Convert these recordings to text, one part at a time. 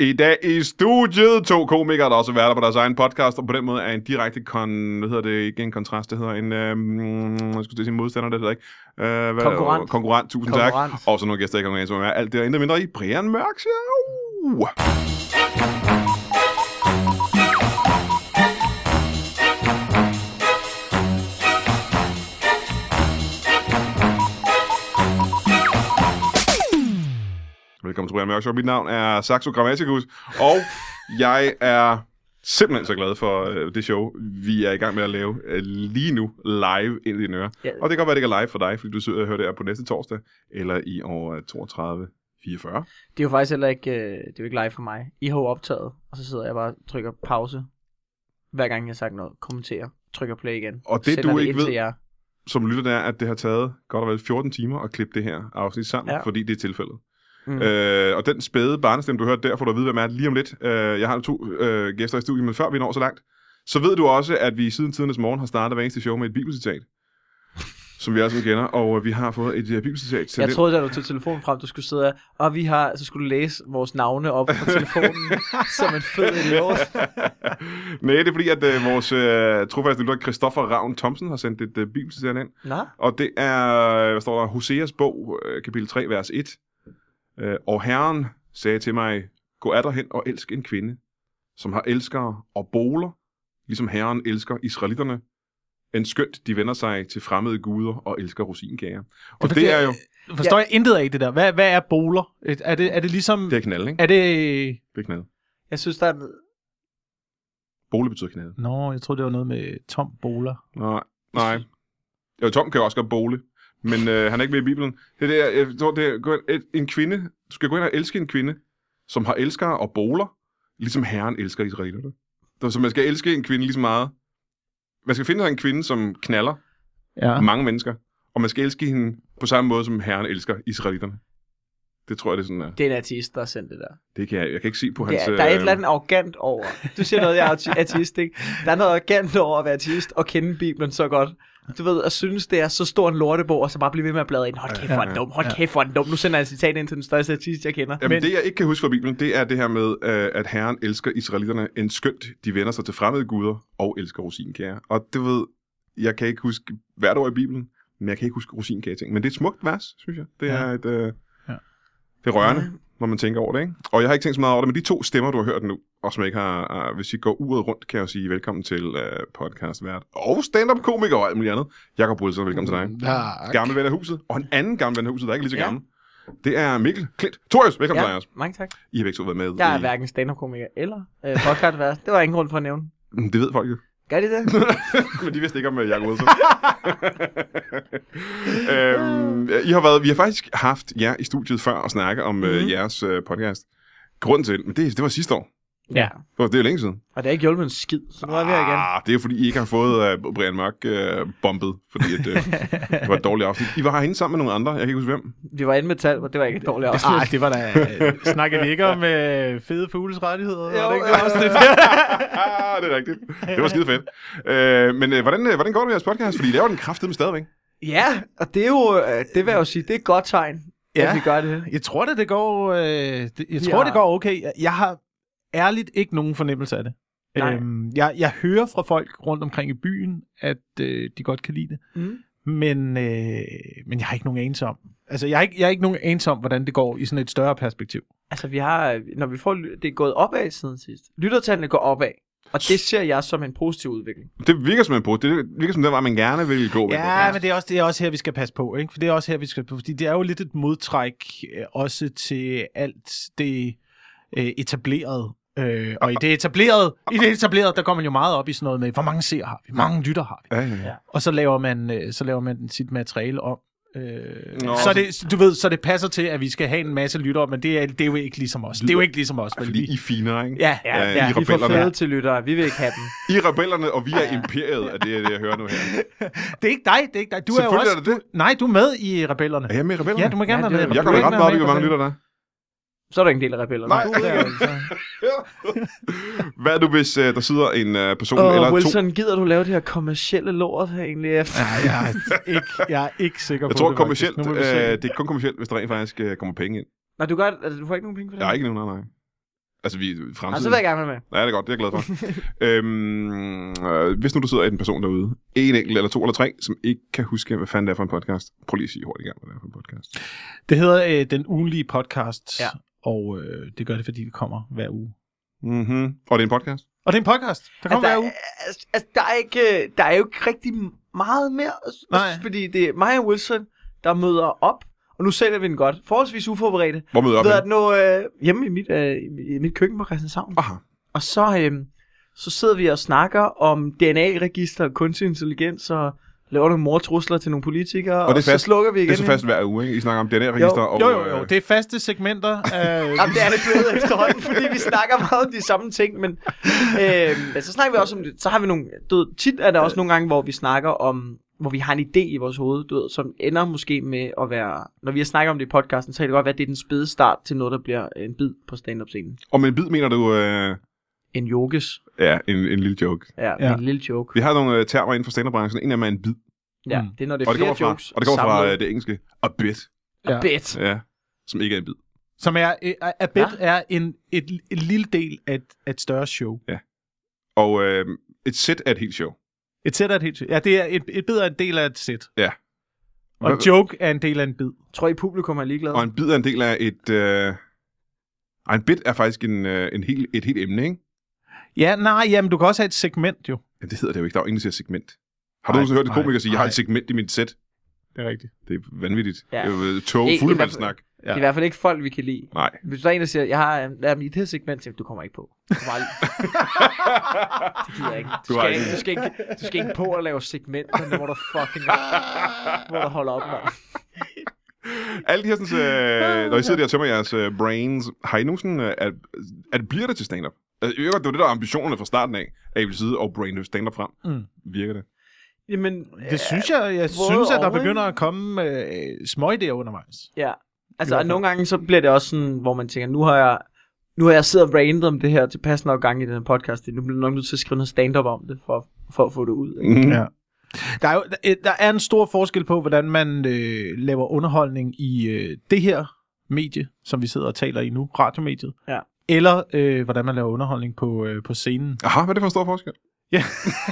I dag i studiet to komikere, der også er værter på deres egen podcast, og på den måde er en direkte kon... Hvad hedder det? Ikke en kontrast, det hedder en... Øhm, jeg skulle til at sige modstander, det hedder ikke. Øh, hvad, Konkurrent. Konkurrent, tusind Konkurrent. tak. Og så nogle gæster i konkurrence, som er alt det og intet mindre i Brian Mørk Show. Velkommen til Brian Mørk Show. Mit navn er Saxo Grammaticus, og jeg er simpelthen så glad for øh, det show, vi er i gang med at lave øh, lige nu live ind i dine ører. Ja. Og det kan godt være, det ikke er live for dig, fordi du sidder og hører det her på næste torsdag, eller i år øh, 32. 44. Det er jo faktisk heller ikke, øh, det er jo ikke live for mig. I har jo optaget, og så sidder jeg bare og trykker pause, hver gang jeg har sagt noget, kommenterer, trykker play igen. Og det, sender du ikke ind ved- til jer. Som lytter der, at det har taget godt og vel 14 timer at klippe det her afsnit sammen, ja. Ja. fordi det er tilfældet. Mm. Mm. Øh, og den spæde barnestemme, du hørte der, får du at vide, hvem er lige om lidt. Øh, jeg har to øh, gæster i studiet, men før vi når så langt, så ved du også, at vi siden tidernes morgen har startet hver eneste show med et bibelcitat, som vi alle sammen kender, og øh, vi har fået et øh, bibelcitat til Jeg det. troede, da du tog telefonen frem, du skulle sidde her, og vi har, så skulle du læse vores navne op på telefonen, som en fed idiot. Nej, det er fordi, at øh, vores øh, trofaste lytter, Christoffer Ravn Thomsen, har sendt et øh, bibelcitat ind. Nå, Og det er, hvad står der, Hoseas bog, øh, kapitel 3, vers 1. Øh, Og Herren sagde til mig, gå af derhen og elsk en kvinde, som har elskere og boler, ligesom Herren elsker israelitterne, end skønt de vender sig til fremmede guder og elsker rosinkager. Og det, fordi, er jo, Forstår jeg intet af det der? Hvad, hvad er boler? Et- Er det, er det ligesom... det er knald, ikke? Er det... Det er knald. jeg synes, der er en- Bole betyder knald. Nå, jeg troede, det var noget med tom boler. Nej, nej. Jo, Tom kan jo også godt bole, men øh, han er ikke med i Bibelen. Det der, jeg tror, det er, gå ind- et- en kvinde, du skal gå ind og elske en kvinde, som har elskere og boler, ligesom herren elsker israelerne. Der- Så man skal elske en kvinde lige så meget. Man skal finde sig en kvinde, som knaller Ja. mange mennesker, og man skal elske hende på samme måde, som herren elsker israelitterne. Det tror jeg, det er sådan, er. det er en artist, der har sendt det der. det kan jeg, jeg kan ikke se på hans... Ja, der er et øh, eller andet arrogant over. Du siger noget, jeg er arti- artist, ikke? Der er noget arrogant over at være artist og kende Bibelen så godt. Du ved, og synes, det er så stor en lortebog, og så bare blive ved med at bladre ind. Hold kæft, hvor er den dum. Hold kæft, hvor er den dum. Nu sender jeg et citat ind til den største artist, jeg kender. Jamen, men... det, jeg ikke kan huske fra Bibelen, det er det her med, øh, at Herren elsker israelitterne, end skønt de vender sig til fremmede guder og elsker rosinkager. Og det ved, jeg kan ikke huske hvert år i Bibelen, men jeg kan ikke huske rosinkager-ting. Men det er et smukt vers, synes jeg. Det er, Ja. et, øh, Ja. det er rørende, når man tænker over det. Ikke? Og jeg har ikke tænkt så meget over det, men de to stemmer, du har hørt nu, og som jeg ikke har, øh, hvis I går uret rundt, kan jeg jo sige velkommen til øh, podcastvært og stand-up-komiker og alt muligt andet. Jakob Wilson, velkommen til dig Tak. gammel ven af huset, og en anden gammel ven af huset, der er ikke lige så Ja. gammel. Det er Mikkel Klint. Torius, velkommen ja. til dig ja, også. mange tak. I har begge to været med. Jeg er i- hverken stand-up-komiker eller øh, podcastvært. Det var ingen grund for at nævne. Mm, Det ved folk jo. Gør de det? Men de vidste ikke om uh, Jacob Wilson. øhm, I har været, vi har faktisk haft jer i studiet før og snakke om mm-hmm. Mhm. uh, jeres uh, podcast. Grunden til det, men det, det var sidste år. Ja. Det var- Det er længe siden. Og det har ikke hjulpet en skid, så nu er vi her igen. Ah, det er jo fordi, I ikke har fået uh, Brian Mørk uh, bombet, fordi at, uh, det var et dårligt afsnit. I var herinde sammen med nogle andre, jeg kan ikke huske hvem. Vi var inde med tal, og det var ikke et dårligt afsnit. Ah, det var da... Snakkede vi ikke om øh, fede fugles rettigheder? Jo, var det ikke jo. det afsnit? ah, det er rigtigt. Det var skide fedt. Øh, men øh, hvordan, øh, hvordan går det med jeres podcast? Fordi I laver den kraftedeme stadigvæk. Ja, og det er jo, øh, det vil jeg jo sige, det er et godt tegn, ja. Ja. at vi gør det. Jeg tror da, det går... Øh, det, jeg Ja. tror, det går okay. Jeg- Jeg har ærligt ikke nogen fornemmelse af det. Nej. Øhm, jeg, jeg hører fra folk rundt omkring i byen, at øh, de godt kan lide det. Mm. Men, øh, men jeg har ikke nogen anelse om. Altså, jeg har, ikke, jeg har ikke nogen anelse om, hvordan det går i sådan et større perspektiv. Altså, vi har, øh, når vi får, ly- det er gået opad siden sidst. Lyttertallene går opad, og det ser jeg som en positiv udvikling. Det virker som en pose. Det virker som den vej, man gerne vil gå. med Ja, men det er, også, det er også her, vi skal passe på, ikke? For det er også her, vi skal passe på, fordi det er jo lidt et modtræk øh, også til alt det øh, etablerede. Øh, og i det etablerede, i det etablerede, der går man jo meget op i sådan noget med, hvor mange ser har vi, hvor mange lytter har vi. Ja, ja. ja. Og så laver man, øh, så laver man sit materiale om. Øh, Nå, så, det, du ved, så det passer til, at vi skal have en masse lyttere, men det er, det er jo ikke ligesom os. Det er jo ikke ligesom os. vel? Fordi Vi- I er finere, ikke? Ja, Ja, I vi får rebellerne. fede til lyttere, vi vil ikke have dem. I er rebellerne, og vi er imperiet, er det, jeg hører nu her. Det er ikke dig, det er ikke dig. Du er jo Selvfølgelig også, er det det. Du, nej, du er med i Rebellerne. Er jeg med i rebellerne? Ja, du må gerne Ja, være med. det er- i jeg går da Rebellerne. ret meget op i, hvor mange lytter der er. Så er der ikke en del af rebellerne. Nej. Hvad nu, hvis uh, der sidder en uh, person oh, eller Og to? Wilson, gider du lave det her kommercielle lort her egentlig? efter? Nej, jeg er ikke, jeg er ikke sikker Jeg på tror det. kommercielt, faktisk. Nu må vi se. øh, det er kun kommercielt, hvis der rent faktisk øh, kommer penge ind. Nå, du, gør, altså, du får ikke nogen penge for det? Der er ikke nogen, nej, nej. Altså, vi fremtiden. Og så vil jeg gerne være med. Ja, det er godt. Det er jeg glad for. øhm, øh, hvis nu du sidder en person derude, en enkelt eller to eller tre, som ikke kan huske, hvad fanden det er for en podcast, prøv lige at sige hurtigt gerne, hvad det er for en podcast. Det hedder øh, Den Ugenlige Podcast, Ja. og øh, det gør det, fordi det kommer hver uge. Mm-hmm. Og det er en podcast? Og det er en podcast, der kommer Altså, hver der, uge. altså, altså, der, er ikke, der er jo ikke rigtig meget mere, altså, Nej. fordi det er Maja Wilson, der møder op, og nu sælger vi den godt, forholdsvis uforberedte, Hvor møder jeg ved op? at nå øh, hjemme i mit, øh, i mit køkken på Christianshavn. henne? Aha. Og så, øh, så sidder vi og snakker om DNA-register og kunstig intelligens, og laver nogle mortrusler til nogle politikere, og, det er fast. så slukker vi igen. Det er så fast hver uge, ikke? I snakker om DNA-register. Jo. og, Jo, jo, jo. øh, Det er faste segmenter. Øh, Jamen, det er det blevet efterhånden, fordi vi snakker meget om de samme ting, men øh, men så snakker vi også om det. Så har vi nogle, du ved, tit er der også nogle gange, hvor vi snakker om, hvor vi har en idé i vores hoved, du ved, som ender måske med at være, når vi har snakket om det i podcasten, så kan det godt være, at det er den spæde start til noget, der bliver en bid på stand-up-scenen. Og med en bid mener du... Øh, En jokes, ja, en, en lille joke. ja, Ja. ja. en lille joke. Vi har nogle øh, termer inden for stand En af dem er en bid. Ja, Mm. det er når det er Og det flere kommer fra, jokes. og det kommer fra øh, samlet. det engelske. A bit. Ja. Bet. Ja. Som ikke er en bid. Som er, øh, er, Hva? bit er en, et, en lille del af et, af et større show. Og øh, et sæt er et helt show. Et sæt er et helt Ja, det er et, et bid er en del af et sæt. Ja. Og en Hvad- joke er en del af en bid. Tror I, publikum er ligeglad? Og en bid er en del af et... Øh... Ej, en bit er faktisk en, øh, en hel, et helt emne, ikke? Ja, nej, jamen du kan også have et segment jo. Men det hedder det jo ikke. Der er jo ingen, der siger segment. Har du Nej, nogensinde hørt en nej, komiker sige, jeg har nej. et segment i mit sæt? Det er rigtigt. Det er vanvittigt. Ja. Ja. Det er jo øh, tog Ikke- fuld i hvert af fald- snak. Det er i hvert fald ikke folk, vi kan lide. Nej. Hvis der er en, der siger, jeg har jeg, i det her segment, så siger jeg, du kommer ikke på. Du kommer aldrig. det gider jeg ikke. Du, Du har skal ikke. ikke- du, skal ikke, du skal ikke på at lave segmenter, nu må du fucking må du holde op, mand. Alle de her, sådan, Ah. øh, når I sidder der og tømmer jeres øh, brains, har I nu sådan, øh, at, at bliver det til stand-up? Altså, jeg ved godt, det var det, der var ambitionerne fra starten af, at I ville sidde og brainløse stand-up frem. Mm. Virker det? Jamen, Det synes jeg, jeg både synes, at der og, begynder at komme øh, små idéer undervejs. ja. I hvert Altså, fald. nogle gange så bliver det også sådan, hvor man tænker, nu har jeg nu har jeg siddet og randet om det her tilpas nok gange i den her podcast. Nu bliver jeg nok nødt til at skrive noget stand-up om det, for, for at få det ud. Ikke? Mm. Ja. Der er, jo, der- øh, der er en stor forskel på, hvordan man øh, laver underholdning i øh, det her medie, som vi sidder og taler i nu, radiomediet, Ja. eller øh, hvordan man laver underholdning på, øh, på scenen. Aha, hvad er det for en stor forskel? Ja.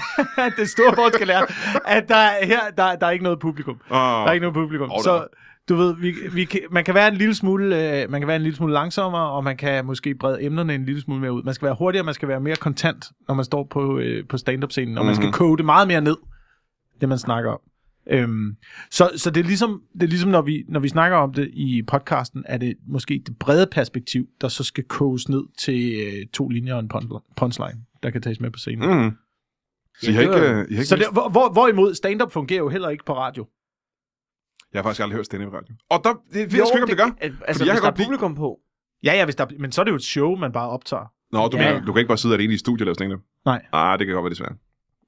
det store forskel er, at der er, her, der, der er ikke noget publikum. Oh, Der er ikke noget publikum. Åh, der så er. du ved, vi, vi, kan- man kan være en lille smule, øh, man kan være en lille smule langsommere, og man kan måske brede emnerne en lille smule mere ud. Man skal være hurtigere, man skal være mere kontant, når man står på, øh, på stand-up scenen, og man skal Mhm. koge det meget mere ned, det man snakker om. Øhm, så, så det er ligesom, det er ligesom når, vi, når vi snakker om det i podcasten, er det måske det brede perspektiv, der så skal koges ned til øh, to linjer og en punchli- punchline, der kan tages med på scenen. Mm. Så I Ja, har det ikke, var- øh, I har ikke Så det, hvor, hvor, hvorimod stand-up fungerer jo heller ikke på radio. Jeg har faktisk aldrig hørt stand-up radio. Og der, det, vi jo, ikke, om det gør. Altså, jeg kan hvis der er godt lide- publikum på. Ja, ja, hvis der, men så er det jo et show, man bare optager. Nå, du, Ja, ja. ja. mener, du kan ikke bare sidde alene i studiet og lave stand-up? Nej. Nej, det kan godt være desværre.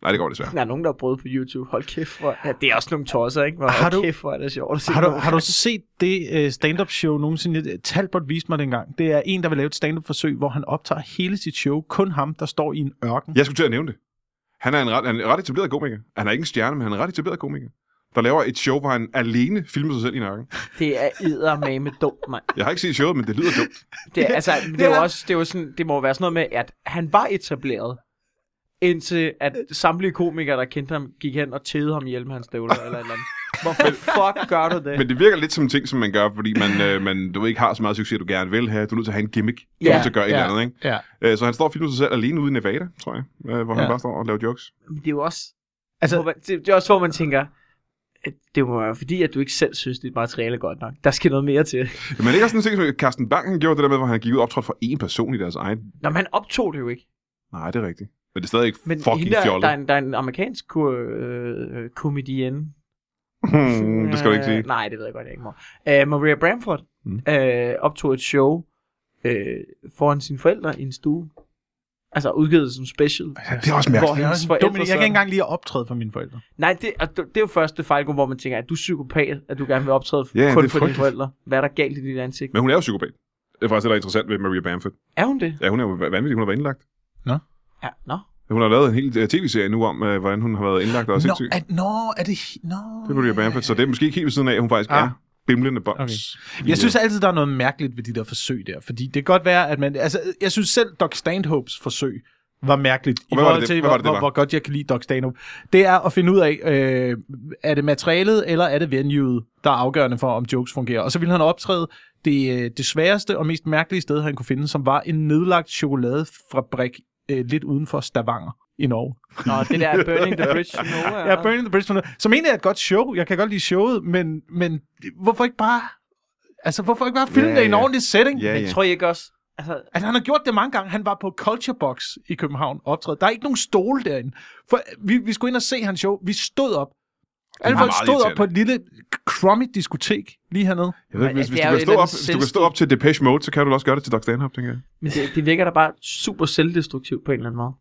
Nej, det går desværre. Der er nogen, der har prøvet på YouTube. Hold kæft, hvor... Ja, det er også nogle tosser, ikke? Hvor, Har har du- du... kæft, hvor er det sjovt at se. Har du, nogen. har du set det øh, stand-up show nogensinde? Talbot viste mig det engang. Det er en, der vil lave et stand-up forsøg, hvor han optager hele sit show. Kun ham, der står i en ørken. Jeg skulle til at nævne det. Han er en ret, han er en ret etableret komiker. Han er ikke en stjerne, men han er en ret etableret komiker. Der laver et show, hvor han alene filmer sig selv i nakken. Det er eddermame dumt, mand. Jeg har ikke set showet, men det lyder dumt. Det, er, altså, det, er Ja. jo også, det, er jo sådan, det må jo være sådan noget med, at han var etableret, indtil at samtlige komikere, der kendte ham, gik hen og tædede ham ihjel med hans støvler eller et eller andet. Hvorfor fuck gør du det? Men det virker lidt som en ting, som man gør, fordi man, øh, man du ved, ikke har så meget succes, du gerne vil have. Du er nødt til at have en gimmick. Du er Ja, nødt til at gøre et ja. eller andet, ikke? Ja. Øh, Så han står og filmer sig selv alene ude i Nevada, tror jeg. øh, Hvor han Ja. bare står og laver jokes. Men det er jo også, Altså- altså, hvor man, det, det er også hvor man tænker, at det må være fordi, at du ikke selv synes, dit materiale er godt nok. Der skal noget mere til. Men er det ikke også sådan en ting, som Carsten Bang han gjorde det der med, hvor han gik ud og optrådte for én person i deres egen... Nå, men han optog det jo ikke. Nej, det er rigtigt. Men det er stadig ikke Men fucking hende, der, fjollet. der, er en, der er en amerikansk ko- øh, komedienne, Hmm, det skal du ikke sige. Øh, nej, det ved jeg godt, jeg ikke må. Øh, Maria Bramford Mm. øh, optog et show øh, foran sine forældre i en stue. Altså udgivet som special. Ja, det er også mærkeligt. Hvor hans Dumt, forældre jeg kan ikke engang lige optræde for mine forældre. Nej, det, og det, det er jo første fejlgruppe, hvor man tænker, at du er psykopat, at du gerne vil optræde Ja, kun det er for dine frygteligt. forældre. Hvad er der galt i dit ansigt? Men hun er jo psykopat. Det er faktisk det, der er interessant ved Maria Bamford. Er hun det? Ja, hun er jo vanvittig. Hun har været indlagt. Ja, nå. Hun har lavet en hel øh, tv-serie nu om, øh, hvordan hun har været indlagt og er Nå, sindssyg. er, nå, er det... Nå, Det er Maria Bamford, så det er måske ikke helt ved siden af, at hun faktisk Ah. er bimlende boks. Okay. Okay. Jeg synes altid, der er noget mærkeligt ved de der forsøg der, fordi det kan godt være, at man... Altså, jeg synes selv, Doc Stanhopes forsøg var mærkeligt, i hvad var forhold det, til, det- hvor, hvad var det, det hvor, var? hvor godt jeg kan lide Doc Stanhope. Det er at finde ud af, øh, er det materialet, eller er det venueet, der er afgørende for, om jokes fungerer. Og så ville han optræde det, øh, det sværeste og mest mærkelige sted, han kunne finde, som var en nedlagt chokoladefabrik øh, lidt uden for Stavanger i Norge. Nå, det der Burning the Bridge, you know, Ja, Burning the Bridge, for noget, som egentlig er et godt show. Jeg kan godt lide showet, men, men hvorfor ikke bare... Altså, hvorfor ikke bare filme Ja, det i en ja. ordentlig setting? Ja, Men ja. tror I ikke også, altså, Altså, han har gjort det mange gange. Han var på Culture Box i København optræde. Der er ikke nogen stole derinde. For vi, vi skulle ind og se hans show. Vi stod op. Alle meget folk stod op irriterende. på et lille crummy diskotek lige hernede. Jeg ved, ikke, hvis, Men hvis, det er du jo kan et stå eller op, andet hvis du kan stå op til Depeche Mode, så kan du også gøre det til Doc Stanhope, tænker jeg. men det, det virker da bare super selvdestruktivt på en eller anden måde.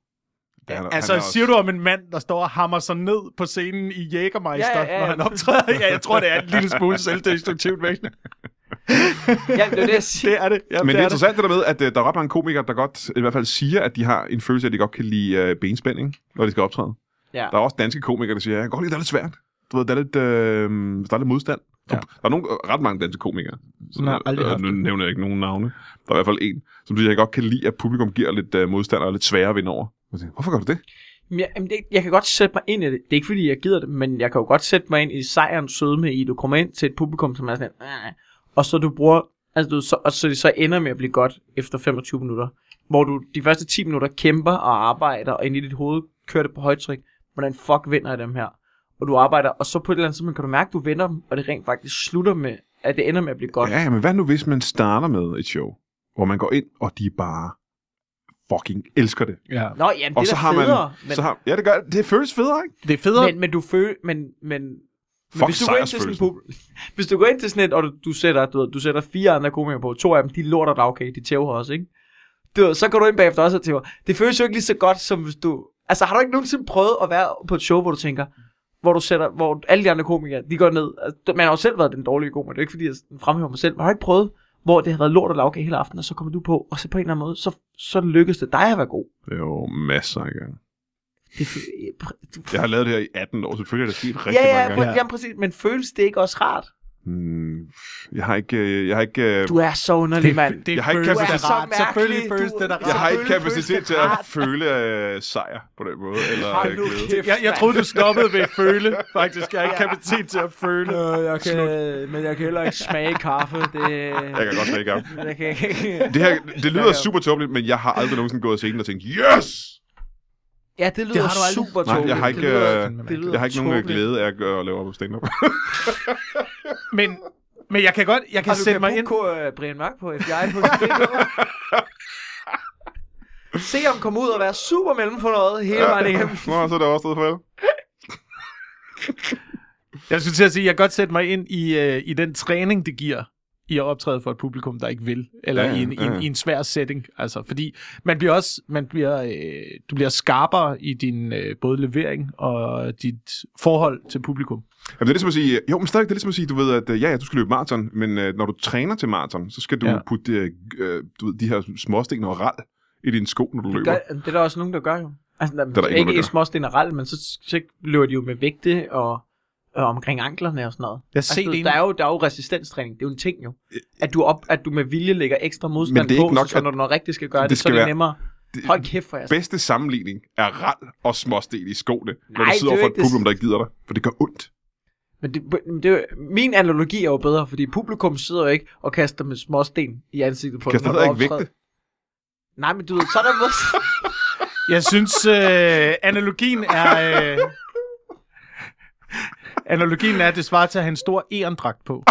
Ja, han er- altså, han er også- siger du om en mand, der står og hammer sig ned på scenen i Jægermeister, Ja, ja, ja. når han optræder? Ja, jeg tror, det er en lille smule selvdestruktivt, men Ja, det er det, jeg siger. det er det. Jamen, Men det er det det. interessant det der med, at øh, der er ret mange komikere, der godt i hvert fald siger, at de har en følelse af, at de godt kan lide øh, benspænding, når de skal optræde. Ja. Der er også danske komikere, der siger, at jeg kan godt lide, at det er lidt svært. Du ved, der er lidt, øh, der er lidt modstand. Ja. Ja. Der er nogle, ret mange danske komikere. Sådan har jeg aldrig øh, haft nu det. nævner jeg ikke nogen navne. Der er i hvert fald en, som siger, at jeg godt kan lide, at publikum giver lidt øh, modstand og er lidt sværere at vinde over. Jeg siger, Hvorfor gør du det? Men Jeg, jamen det, jeg kan godt sætte mig ind i det. Det er ikke fordi, jeg gider det, men jeg kan jo godt sætte mig ind i sejrens sødme i, at du kommer ind til et publikum, som er sådan, "Ah," og så du bruger, altså du, så, og så det så ender med at blive godt efter 25 minutter, hvor du de første 10 minutter kæmper og arbejder, og ind i dit hoved kører det på højtryk, hvordan fuck vinder jeg dem her? Og du arbejder, og så på et eller andet tidspunkt kan du mærke, at du vinder dem, og det rent faktisk slutter med, at det ender med at blive godt. Ja, men hvad nu, hvis man starter med et show, hvor man går ind, og de bare fucking elsker det. Ja. Nå, jamen det og er så da har man... federe, men, så har, ja, det gør det. føles federe, ikke? Det er federe. men, men du føler, men, men Men Fuck hvis du, går ind til sådan sejrsfølelsen. en pub- hvis du går ind til sådan et, og du, du, sætter, du, ved, du sætter fire andre komikere på, to af dem, de lorter dig, okay, de tæver også, ikke? Du, ved, så går du ind bagefter også og tæver. Det føles jo ikke lige så godt, som hvis du... Altså, har du ikke nogensinde prøvet at være på et show, hvor du tænker, hvor du sætter, hvor alle de andre komikere, de går ned. Altså, du- man har jo selv været den dårlige komiker, det er jo ikke fordi, jeg sådan fremhæver mig selv. Men har du ikke prøvet, hvor det har været lort og lavkage hele aftenen, og så kommer du på, og så på en eller anden måde, så, så lykkes det dig at være god. Det er jo masser af gange. Det, fø- du, Jeg har lavet det her i 18 år, selvfølgelig er det sket rigtig ja, ja, mange ja, gange. jamen, præcis, men føles det ikke også rart? Hmm, jeg har ikke, øh, jeg har ikke, øh, Du er så underlig, mand. det Jeg har ikke føles kapacitet- da rart. Du er så mærkelig. Selvfølgelig føles Du- det da jeg har rart. ikke Selvfølgelig føles kapacitet det til at rart. føle øh, sejr på den måde. Eller øh, Hold nu glæde. kæft, Jeg, jeg mand. troede, du stoppede ved føle, faktisk. Jeg har ikke kapacitet til at føle. Øh, jeg kan, men jeg kan heller ikke smage kaffe. Det, Jeg kan godt smage af. jeg kan ikke. Det her, det lyder super tåbeligt, men jeg har aldrig nogensinde gået af scenen og tænkt, yes! Ja, det lyder har du aldrig. super Nej, tåbeligt. jeg har ikke, Det lyder- øh, det lyder jeg har ikke nogen øh, tåbeligt. glæde af at gøre at lave op på stand-up. Men, men jeg kan godt jeg kan Har du sætte kan mig ind. booke øh, Brian Mørk på FBI på Se ham komme ud og være super mellem for noget hele vejen igennem. Nå, så er det også stedet for alle. Jeg skulle til at sige, jeg kan godt sætte mig ind i, øh, i den træning, det giver i at optræde for et publikum, der ikke vil, eller Ja, ja, i, en, ja. i, ja. en, i en svær setting. Altså, fordi man bliver også, man bliver, øh, du bliver skarpere i din øh, både levering og dit forhold til publikum. Jamen, det er ligesom at sige, jo, men stadig, det er ligesom at sige, du ved, at øh, ja, ja, du skal løbe maraton, men øh, når du træner til maraton, så skal du ja. Ja. putte øh, øh, du ved, de her småsten og ral i dine sko, når du løber. Gør, det er der også nogen, der gør jo. Altså, der, der der ikke nogen, ikke der i gør. små generelt, men så, så løber de jo med vægte og, og omkring anklerne og sådan noget. Jeg har Altså, set du ved, en, der, er jo, der er jo resistenstræning, det er jo en ting jo. At du, op, at du med vilje lægger ekstra modstand Øh, Men det er på, ikke nok, så, så at- når du når rigtigt skal gøre det det, det skal så er det være- nemmere. Det- Hold kæft for jer. bedste sammenligning er ral og småsten i skoene, Nej, når du Nej, sidder det overfor er jo et ikke det- publikum, der ikke gider dig. For det gør ondt. Men det, men det, er jo- min analogi er jo bedre, fordi publikum sidder jo ikke og kaster med småsten i ansigtet på Kaster når der du ikke optræder. vægte? Nej, men du ved, så er der noget... Jeg synes, øh, analogien er... Øh, analogien er, at det svarer til at have en stor erendragt på.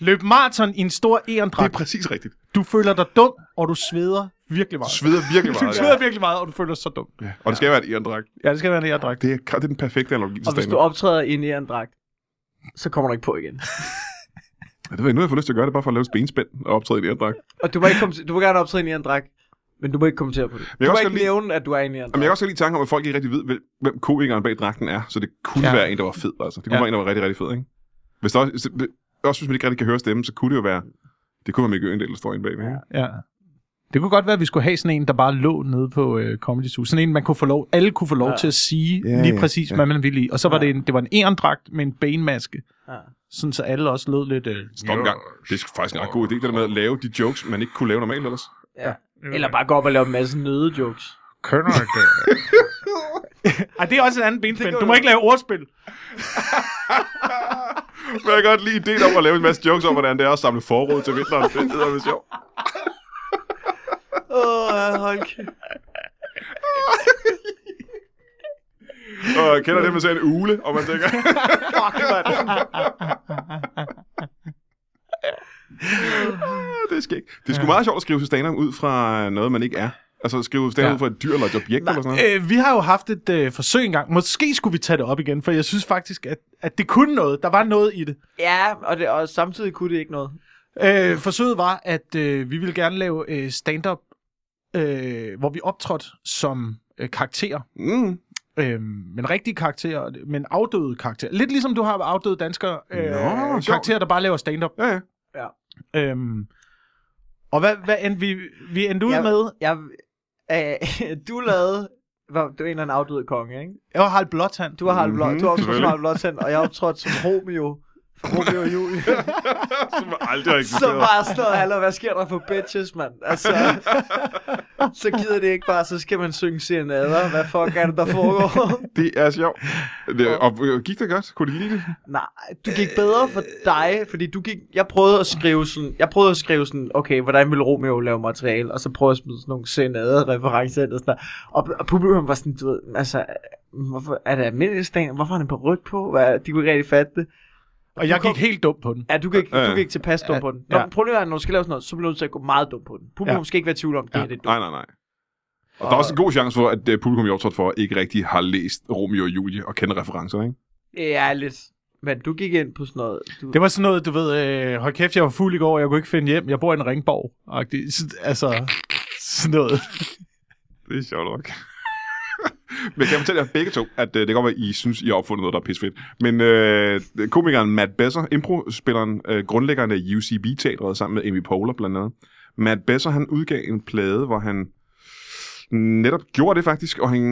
Løb maraton i en stor Det er erendragt. præcis rigtigt. Du føler dig dum, og du sveder virkelig Du meget. sveder virkelig Du meget. sveder virkelig meget, og du føler dig så dum. Ja. Og det skal være en ærendrag. Ja, det skal være en erendragt. Det er, det er den perfekte analogi til Og hvis stand du optræder i en ærendragt, så kommer du ikke på igen. ja, det ved jeg, nu har jeg fået lyst til at gøre det, bare for at lave et benspænd og optræde i en ærendrag. Og du må, ikke komme til, du må gerne optræde i en ærendragt, men du må ikke kommentere på det. kan Du må også ikke godt lide- nævne, at du er i en ærendragt. Men jeg kan også godt lide tanken om, at folk ikke rigtig ved, hvem- hvem komikeren bag dragten er. Så det kunne ja. Ja. være en, der var fed. Altså. Det kunne ja. Ja. være en, der var rigtig, rigtig fed. Ikke? Hvis der også, også hvis man ikke rigtig kan høre stemmen, så kunne det jo være... Det kunne være Mikke Øgendal, der står inde bagved. Ja. Ja. Det kunne godt være, at vi skulle have sådan en, der bare lå nede på øh, Comedy Zoo. Sådan en, man kunne få lov, alle kunne få lov Ja. ja. til at sige Ja, ja, lige ja, præcis, ja. ja. hvad man ville i. Og så var Ja. det en, det var en erendragt med en benmaske. Ja. Sådan så alle også lød lidt... Øh, Stop en gang. Det er faktisk en ret god idé, det der med at lave de jokes, man ikke kunne lave normalt ellers. ja. Eller bare gå op og lave en masse nøde jokes. Kønner ikke det. Ej, det er også en anden benspænd. Du må ikke lave ordspil. Men jeg kan godt lide ideen om at lave en masse jokes om, hvordan det er at samle forråd til vinteren. Det er med sjovt. Åh, oh, hold kæft. Og jeg kender det, man ser en ule, og man tænker... Fuck, mand. Ah, det er skægt. Det er sgu meget sjovt at skrive stand ud fra noget, man ikke er. Altså at skrive stand Ja. ud fra et dyr eller et objekt eller sådan noget. Øh, vi har jo haft et øh, forsøg engang. Måske skulle vi tage det op igen, for jeg synes faktisk, at, at det kunne noget. Der var noget i det. Ja, og, det, og samtidig kunne det ikke noget. Øh, forsøget var, at øh, vi ville gerne lave øh, stand-up, øh, hvor vi optrådte som øh, karakterer. Mm. Øh, men rigtige karakterer, men afdøde karakterer. Lidt ligesom du har afdøde danskere. Øh, Nå, sjovt. karakterer, der bare laver stand-up. Ja, ja. Øhm, og hvad, hvad endte vi, vi endte ud Ja. med? Jeg, øh, du lavede... Var, du er en eller anden afdød konge, ikke? Jeg var Harald Blåtand. Du har Harald Blå, Mhm, du har optrådt som selvfølgelig. Harald Blåtand, og jeg har optrådt som Romeo. Romeo og Julie. Som aldrig har Så eksisteret. bare sådan noget, hallo, hvad sker der for bitches, mand? Altså, så gider det ikke bare, så skal man synge serenader. Hvad fuck er det, der foregår? Det er sjovt. Det, og øh, gik det godt? Kunne de lide det? Nej, du gik bedre Øh. for dig, fordi du gik... Jeg prøvede at skrive sådan... Jeg prøvede at skrive sådan, okay, hvordan vil Romeo lave materiale? Og så prøvede jeg at smide sådan nogle senade referencer ind og sådan der. Og, og publikum var sådan, du ved, altså... Hvorfor er det almindelig stand? Hvorfor har han en ryg på? Hvad, de kunne ikke rigtig fatte det. og jeg du kom- gik helt dum på den. Ja, du gik, Ja. du gik tilpas dum Ja, på den. Nå, ja. men problemet er, at når du skal lave sådan noget, så bliver du nødt til at gå meget dum på den. Publikum Ja. skal ikke være i tvivl om, det Ja. her det er dumt. Nej, nej, nej. Og der er også en god chance for, at øh, publikum i optrådt for ikke rigtig har læst Romeo og Julie og kender referencer, ikke? Ja, lidt. Men du gik ind på sådan noget... Du... Det var sådan noget, du ved, øh, hold kæft, jeg var fuld i går, jeg kunne ikke finde hjem, jeg bor i en ringborg. -agtig. Så- Altså, sådan noget. Det er sjovt nok. men jeg kan fortælle jer begge to, at øh, det kan godt være, at I synes, I har opfundet noget, der er pissefedt. Men øh, komikeren Matt Besser, impro-spilleren, øh, grundlæggeren af UCB-teatret sammen med Amy Poehler blandt andet. Matt Besser, han udgav en plade, hvor han netop gjorde det faktisk, og han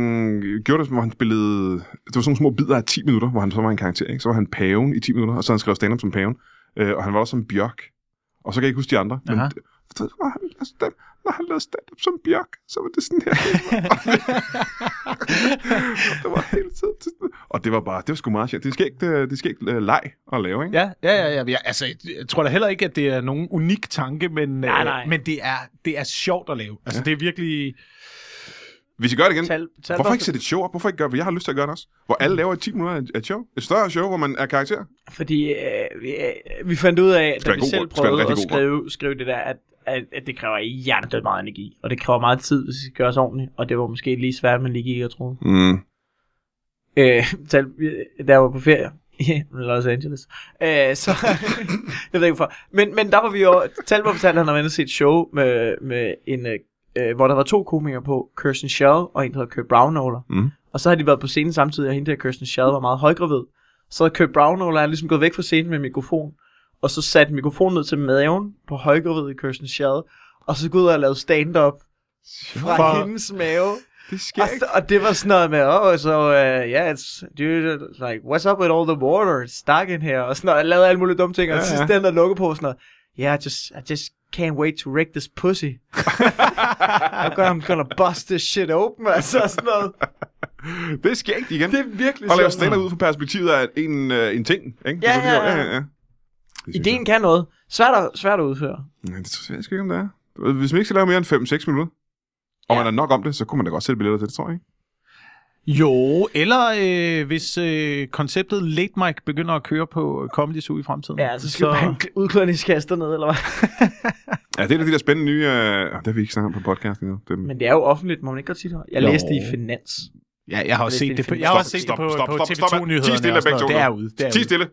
gjorde det, hvor han spillede... Det var sådan nogle små bidder af 10 minutter, hvor han så var en karakter, ikke? Så var han paven i 10 minutter, og så havde han skrev stand-up som paven. Øh, og han var også som Bjørk. Og så kan jeg ikke huske de andre, men Aha. så var han, altså, den, når han lavede stand-up som Bjørk, så var det sådan her. det var hele tiden. sådan- Og det var bare, det var sgu meget sjovt. Det skal ikke, det skal ikke leg at lave, ikke? Ja, ja, ja, ja. ja altså, jeg tror da heller ikke, at det er nogen unik tanke, men, Nej, øh, nej. men det, er, det er sjovt at lave. Altså, Ja. det er virkelig... Hvis I gør det igen, Tal, tal hvorfor ikke sætte et show op? Hvorfor ikke gøre, hvad jeg har lyst til at gøre det også? Hvor Mm. alle laver et 10 minutter af et- af et show. Et større show, hvor man er karakter. Fordi øh, vi, øh, vi fandt ud af, da være vi en god selv grund. Det skal være en prøvede at rigtig god skrive, skrive det der, at, at, at det kræver hjernedødt meget energi. Og det kræver meget tid, hvis det skal gøres ordentligt. Og det var måske lige svært, man lige gik og troede. Mm. Øh, tal, da jeg var på ferie i Los Angeles. Øh, så, jeg ved ikke hvorfor. Men, men der var vi jo, Talbot fortalte, at han havde set et show, med, med en, øh, øh, hvor der var to komikere på, Kirsten Schell og en, der hedder Kurt Brownoler. Mm. Og så har de været på scenen samtidig, og hende der Kirsten Schell var meget højgravid. Så havde Kurt Brownoler er ligesom gået væk fra scenen med mikrofon, og så satte mikrofonen ned til maven på højgravid Kirsten Schell, og så gik ud og lavede stand-up fra For- hendes mave. Det Og, sker ikke. så- og det var sådan noget med, oh, so, uh, yeah, it's, dude, like, what's up with all the water? It's stuck in here. Og sådan noget, jeg lavede alle mulige dumme ting, og Ja, ja, ja. sidst den der lukkede på sådan noget, yeah, I just, I just can't wait to wreck this pussy. I'm gonna, I'm gonna bust this shit open, altså sådan noget. Det sker ikke igen. Det er virkelig Og lave sjovt. stand ud fra perspektivet af en, øh, en ting, ikke? Ja, Det er sådan, ja, vi ja. gør. ja. Det synes Ideen kan noget. Svært at, svært at udføre. Nej, det tror jeg sgu ikke, om det er. Du ved, Hvis man ikke skal lave mere end 5-6 minutter, og Ja. man er nok om det, så kunne man da godt sætte billetter til det, tror jeg. Ikke? Jo, eller øh, hvis øh, konceptet Late Mike begynder at køre på Comedy Zoo i fremtiden. Ja, altså, altså, så skal man udklædningskaster ned, eller hvad? Ja, det er en af de der spændende nye... Øh... oh, Det har vi ikke snakket om på podcast endnu. Det... Men det er jo offentligt, må man ikke godt sige det? Jeg Jo. læste i Finans. Ja, jeg har også Hvis det er set det på, en jeg har film. også set Stop, det på, stop, på stop, stop, stop. Ti stille TV2-nyhederne. og begge sådan to noget. nu. Derude, Ti derude. stille!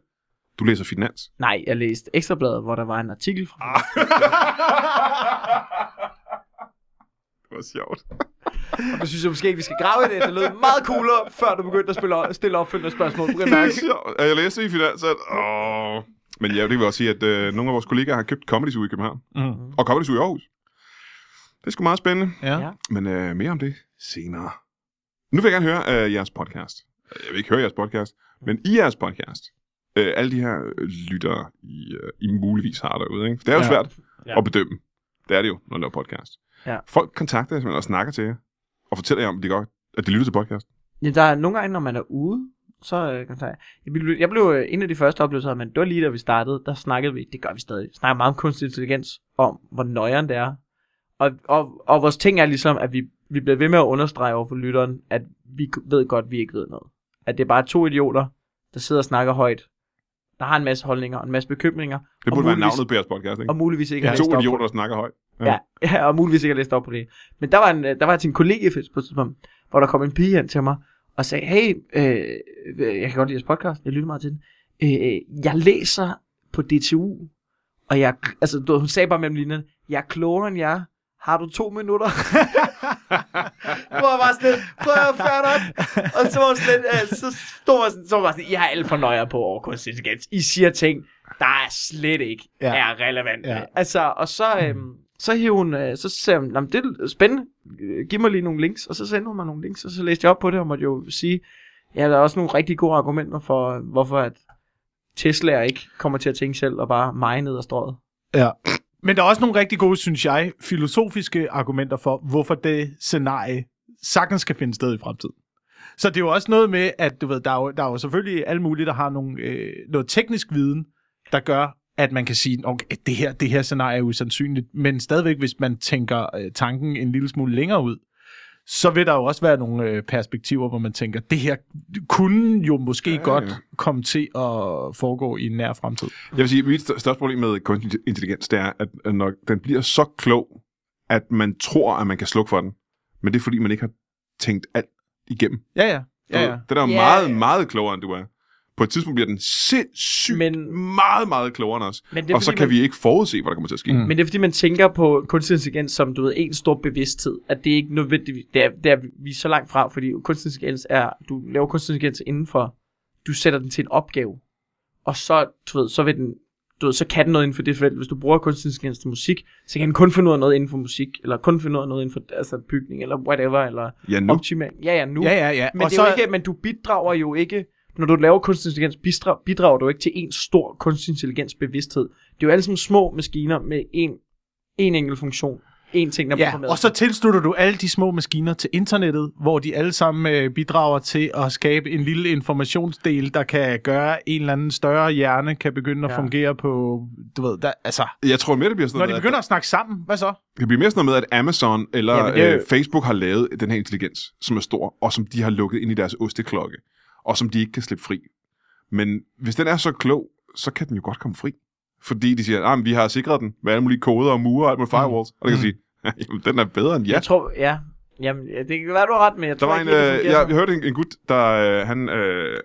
Du læser finans. Nej, jeg læste Ekstrabladet, hvor der var en artikel fra det var sjovt. Jeg synes jeg måske ikke, vi skal grave i det. Det lød meget coolere, før du begyndte at spille op, stille opfølgende spørgsmål. Du kan Det er mærke. sjovt. Ja, Jeg læste i finans, at... Åh... Men ja, det vil også sige, at øh, nogle af vores kollegaer har købt Comedy Zoo i København. Mm. Og Comedy Zoo i Aarhus. Det er sgu meget spændende. Ja. Ja. Men øh, mere om det senere. Nu vil jeg gerne høre øh, jeres podcast. Jeg vil ikke høre jeres podcast, men i jeres podcast, øh, alle de her øh, lyttere, I, øh, I muligvis har derude. Ikke? For det er jo Ja. ja. svært Ja. ja. at bedømme. Det er det jo, når man laver podcast. Ja. Folk kontakter jer simpelthen og snakker til jer, og fortæller jer, om de godt, at de lytter til podcast. Ja, der er nogle gange, når man er ude, så øh, kan man tage- jeg blev, jeg blev øh, en af de første oplevelser, men det var lige da vi startede, der snakkede vi, det gør vi stadig, snakker meget om kunstig intelligens, om hvor nøjeren det er. Og, og, og vores ting er ligesom, at vi, vi bliver ved med at understrege over for lytteren, at vi k- ved godt, vi ikke ved noget. At det er bare to idioter, der sidder og snakker højt, der har en masse holdninger og en masse bekymringer, Det Og burde være muligvis- navnet på jeres podcast, ikke? og muligvis ikke Ja, har læst to op på idioter, der snakker højt. Ja, ja og muligvis ikke har læst op på det. Men der var, en, øh, der var til en kollegiefest på et tidspunkt, hvor der kom en pige hen til mig og sagde, hey, øh, øh, jeg kan godt lide jeres podcast, jeg lytter meget til den. Øh, øh, jeg læser på DTU, og jeg, altså, du ved, hun sagde bare mellem linjerne, jeg er klogere end jer. Har du to minutter? hvor jeg var sådan lidt, prøv at fair nok. Og så var hun sådan lidt, øh, så stod jeg sådan, så var jeg sådan, I har alt for nøjer på over kunstig intelligens. I siger ting, der er slet ikke Ja. ja. er relevant. Ja. Ja. Altså, og så, Hmm. øhm, så hævde hun, øh, så sagde hun, "Nå, men det er spændende, Øh, giv mig lige nogle links. Og så sendte hun mig nogle links, og så læste jeg op på det, og måtte jo sige, ja, der er også nogle rigtig gode argumenter for, hvorfor at Tesla ikke kommer til at tænke selv og bare mig ned ad strået. Ja. Men der er også nogle rigtig gode, synes jeg, filosofiske argumenter for, hvorfor det scenarie sagtens skal finde sted i fremtiden. Så det er jo også noget med, at du ved, der er jo, der er jo selvfølgelig alle mulige, der har nogle, øh, noget teknisk viden, der gør, at man kan sige, okay, det her, det her scenarie er usandsynligt, men stadigvæk, hvis man tænker øh, tanken en lille smule længere ud, så vil der jo også være nogle øh, perspektiver, hvor man tænker, det her kunne jo måske ja, ja. godt komme til at foregå i en nær fremtid. Jeg vil sige, at mit stør- største problem med kunstig intelligens, det er, at at når den bliver så klog, at man tror, at man kan slukke for den. Men det er, fordi man ikke har tænkt alt igennem. Ja, ja. Du ja, ved, ja. Den er jo Ja. meget, meget klogere, end du er. På et tidspunkt bliver den sindssygt Men- men, meget, meget klogere end os. Men det er, Og så fordi kan man- vi ikke forudse, hvad der kommer til at ske. Mm. Mm. Men det er fordi, man tænker på kunstig intelligens som, du ved, en stor bevidsthed. At det er ikke nødvendigvis... Det er, det er vi er så langt fra, fordi kunstig intelligens er... Du laver kunstig intelligens inden for... Du sætter den til en opgave. Og så, du ved, så vil den... Du ved, så kan den noget inden for det felt. Hvis du bruger kunstig intelligens til musik, så kan den kun finde ud af noget inden for musik, eller kun finde ud af noget inden for altså, bygning, eller whatever, eller Ja, nu. optimering. Ja, ja, nu. Ja, ja, ja. Men, det er jo ikke, men du bidrager jo ikke, når du laver kunstig intelligens, bidrager, bidrager du ikke til en stor kunstig intelligens bevidsthed. Det er jo alle sammen små maskiner med en, en enkelt funktion. En ting, der Ja, bliver og så tilslutter du alle de små maskiner til internettet, hvor de alle sammen øh, bidrager til at skabe en lille informationsdel, der kan gøre en eller anden større hjerne kan begynde at Ja. ja. fungere på, du ved, der, altså, Jeg tror mere, det bliver sådan når noget, de med, begynder at snakke sammen, hvad så? at, det bliver mere sådan noget med, at Amazon eller Ja, men ja, det er jo- øh, Facebook har lavet den her intelligens, som er stor, og som de har lukket ind i deres osteklokke, og som de ikke kan slippe fri. Men hvis den er så klog, så kan den jo godt komme fri. Fordi de siger, at vi har sikret den med alle mulige koder og mure og alt med firewalls. Mm. Og det kan Mm. sige, jamen, den er bedre end ja. jer. Jeg tror, ja. Jamen, ja, det kan være, du har ret, men jeg Der tror var en, ikke, helt, det øh, fungerer jeg, jeg sådan. hørte en, en gut, der, øh, han, øh,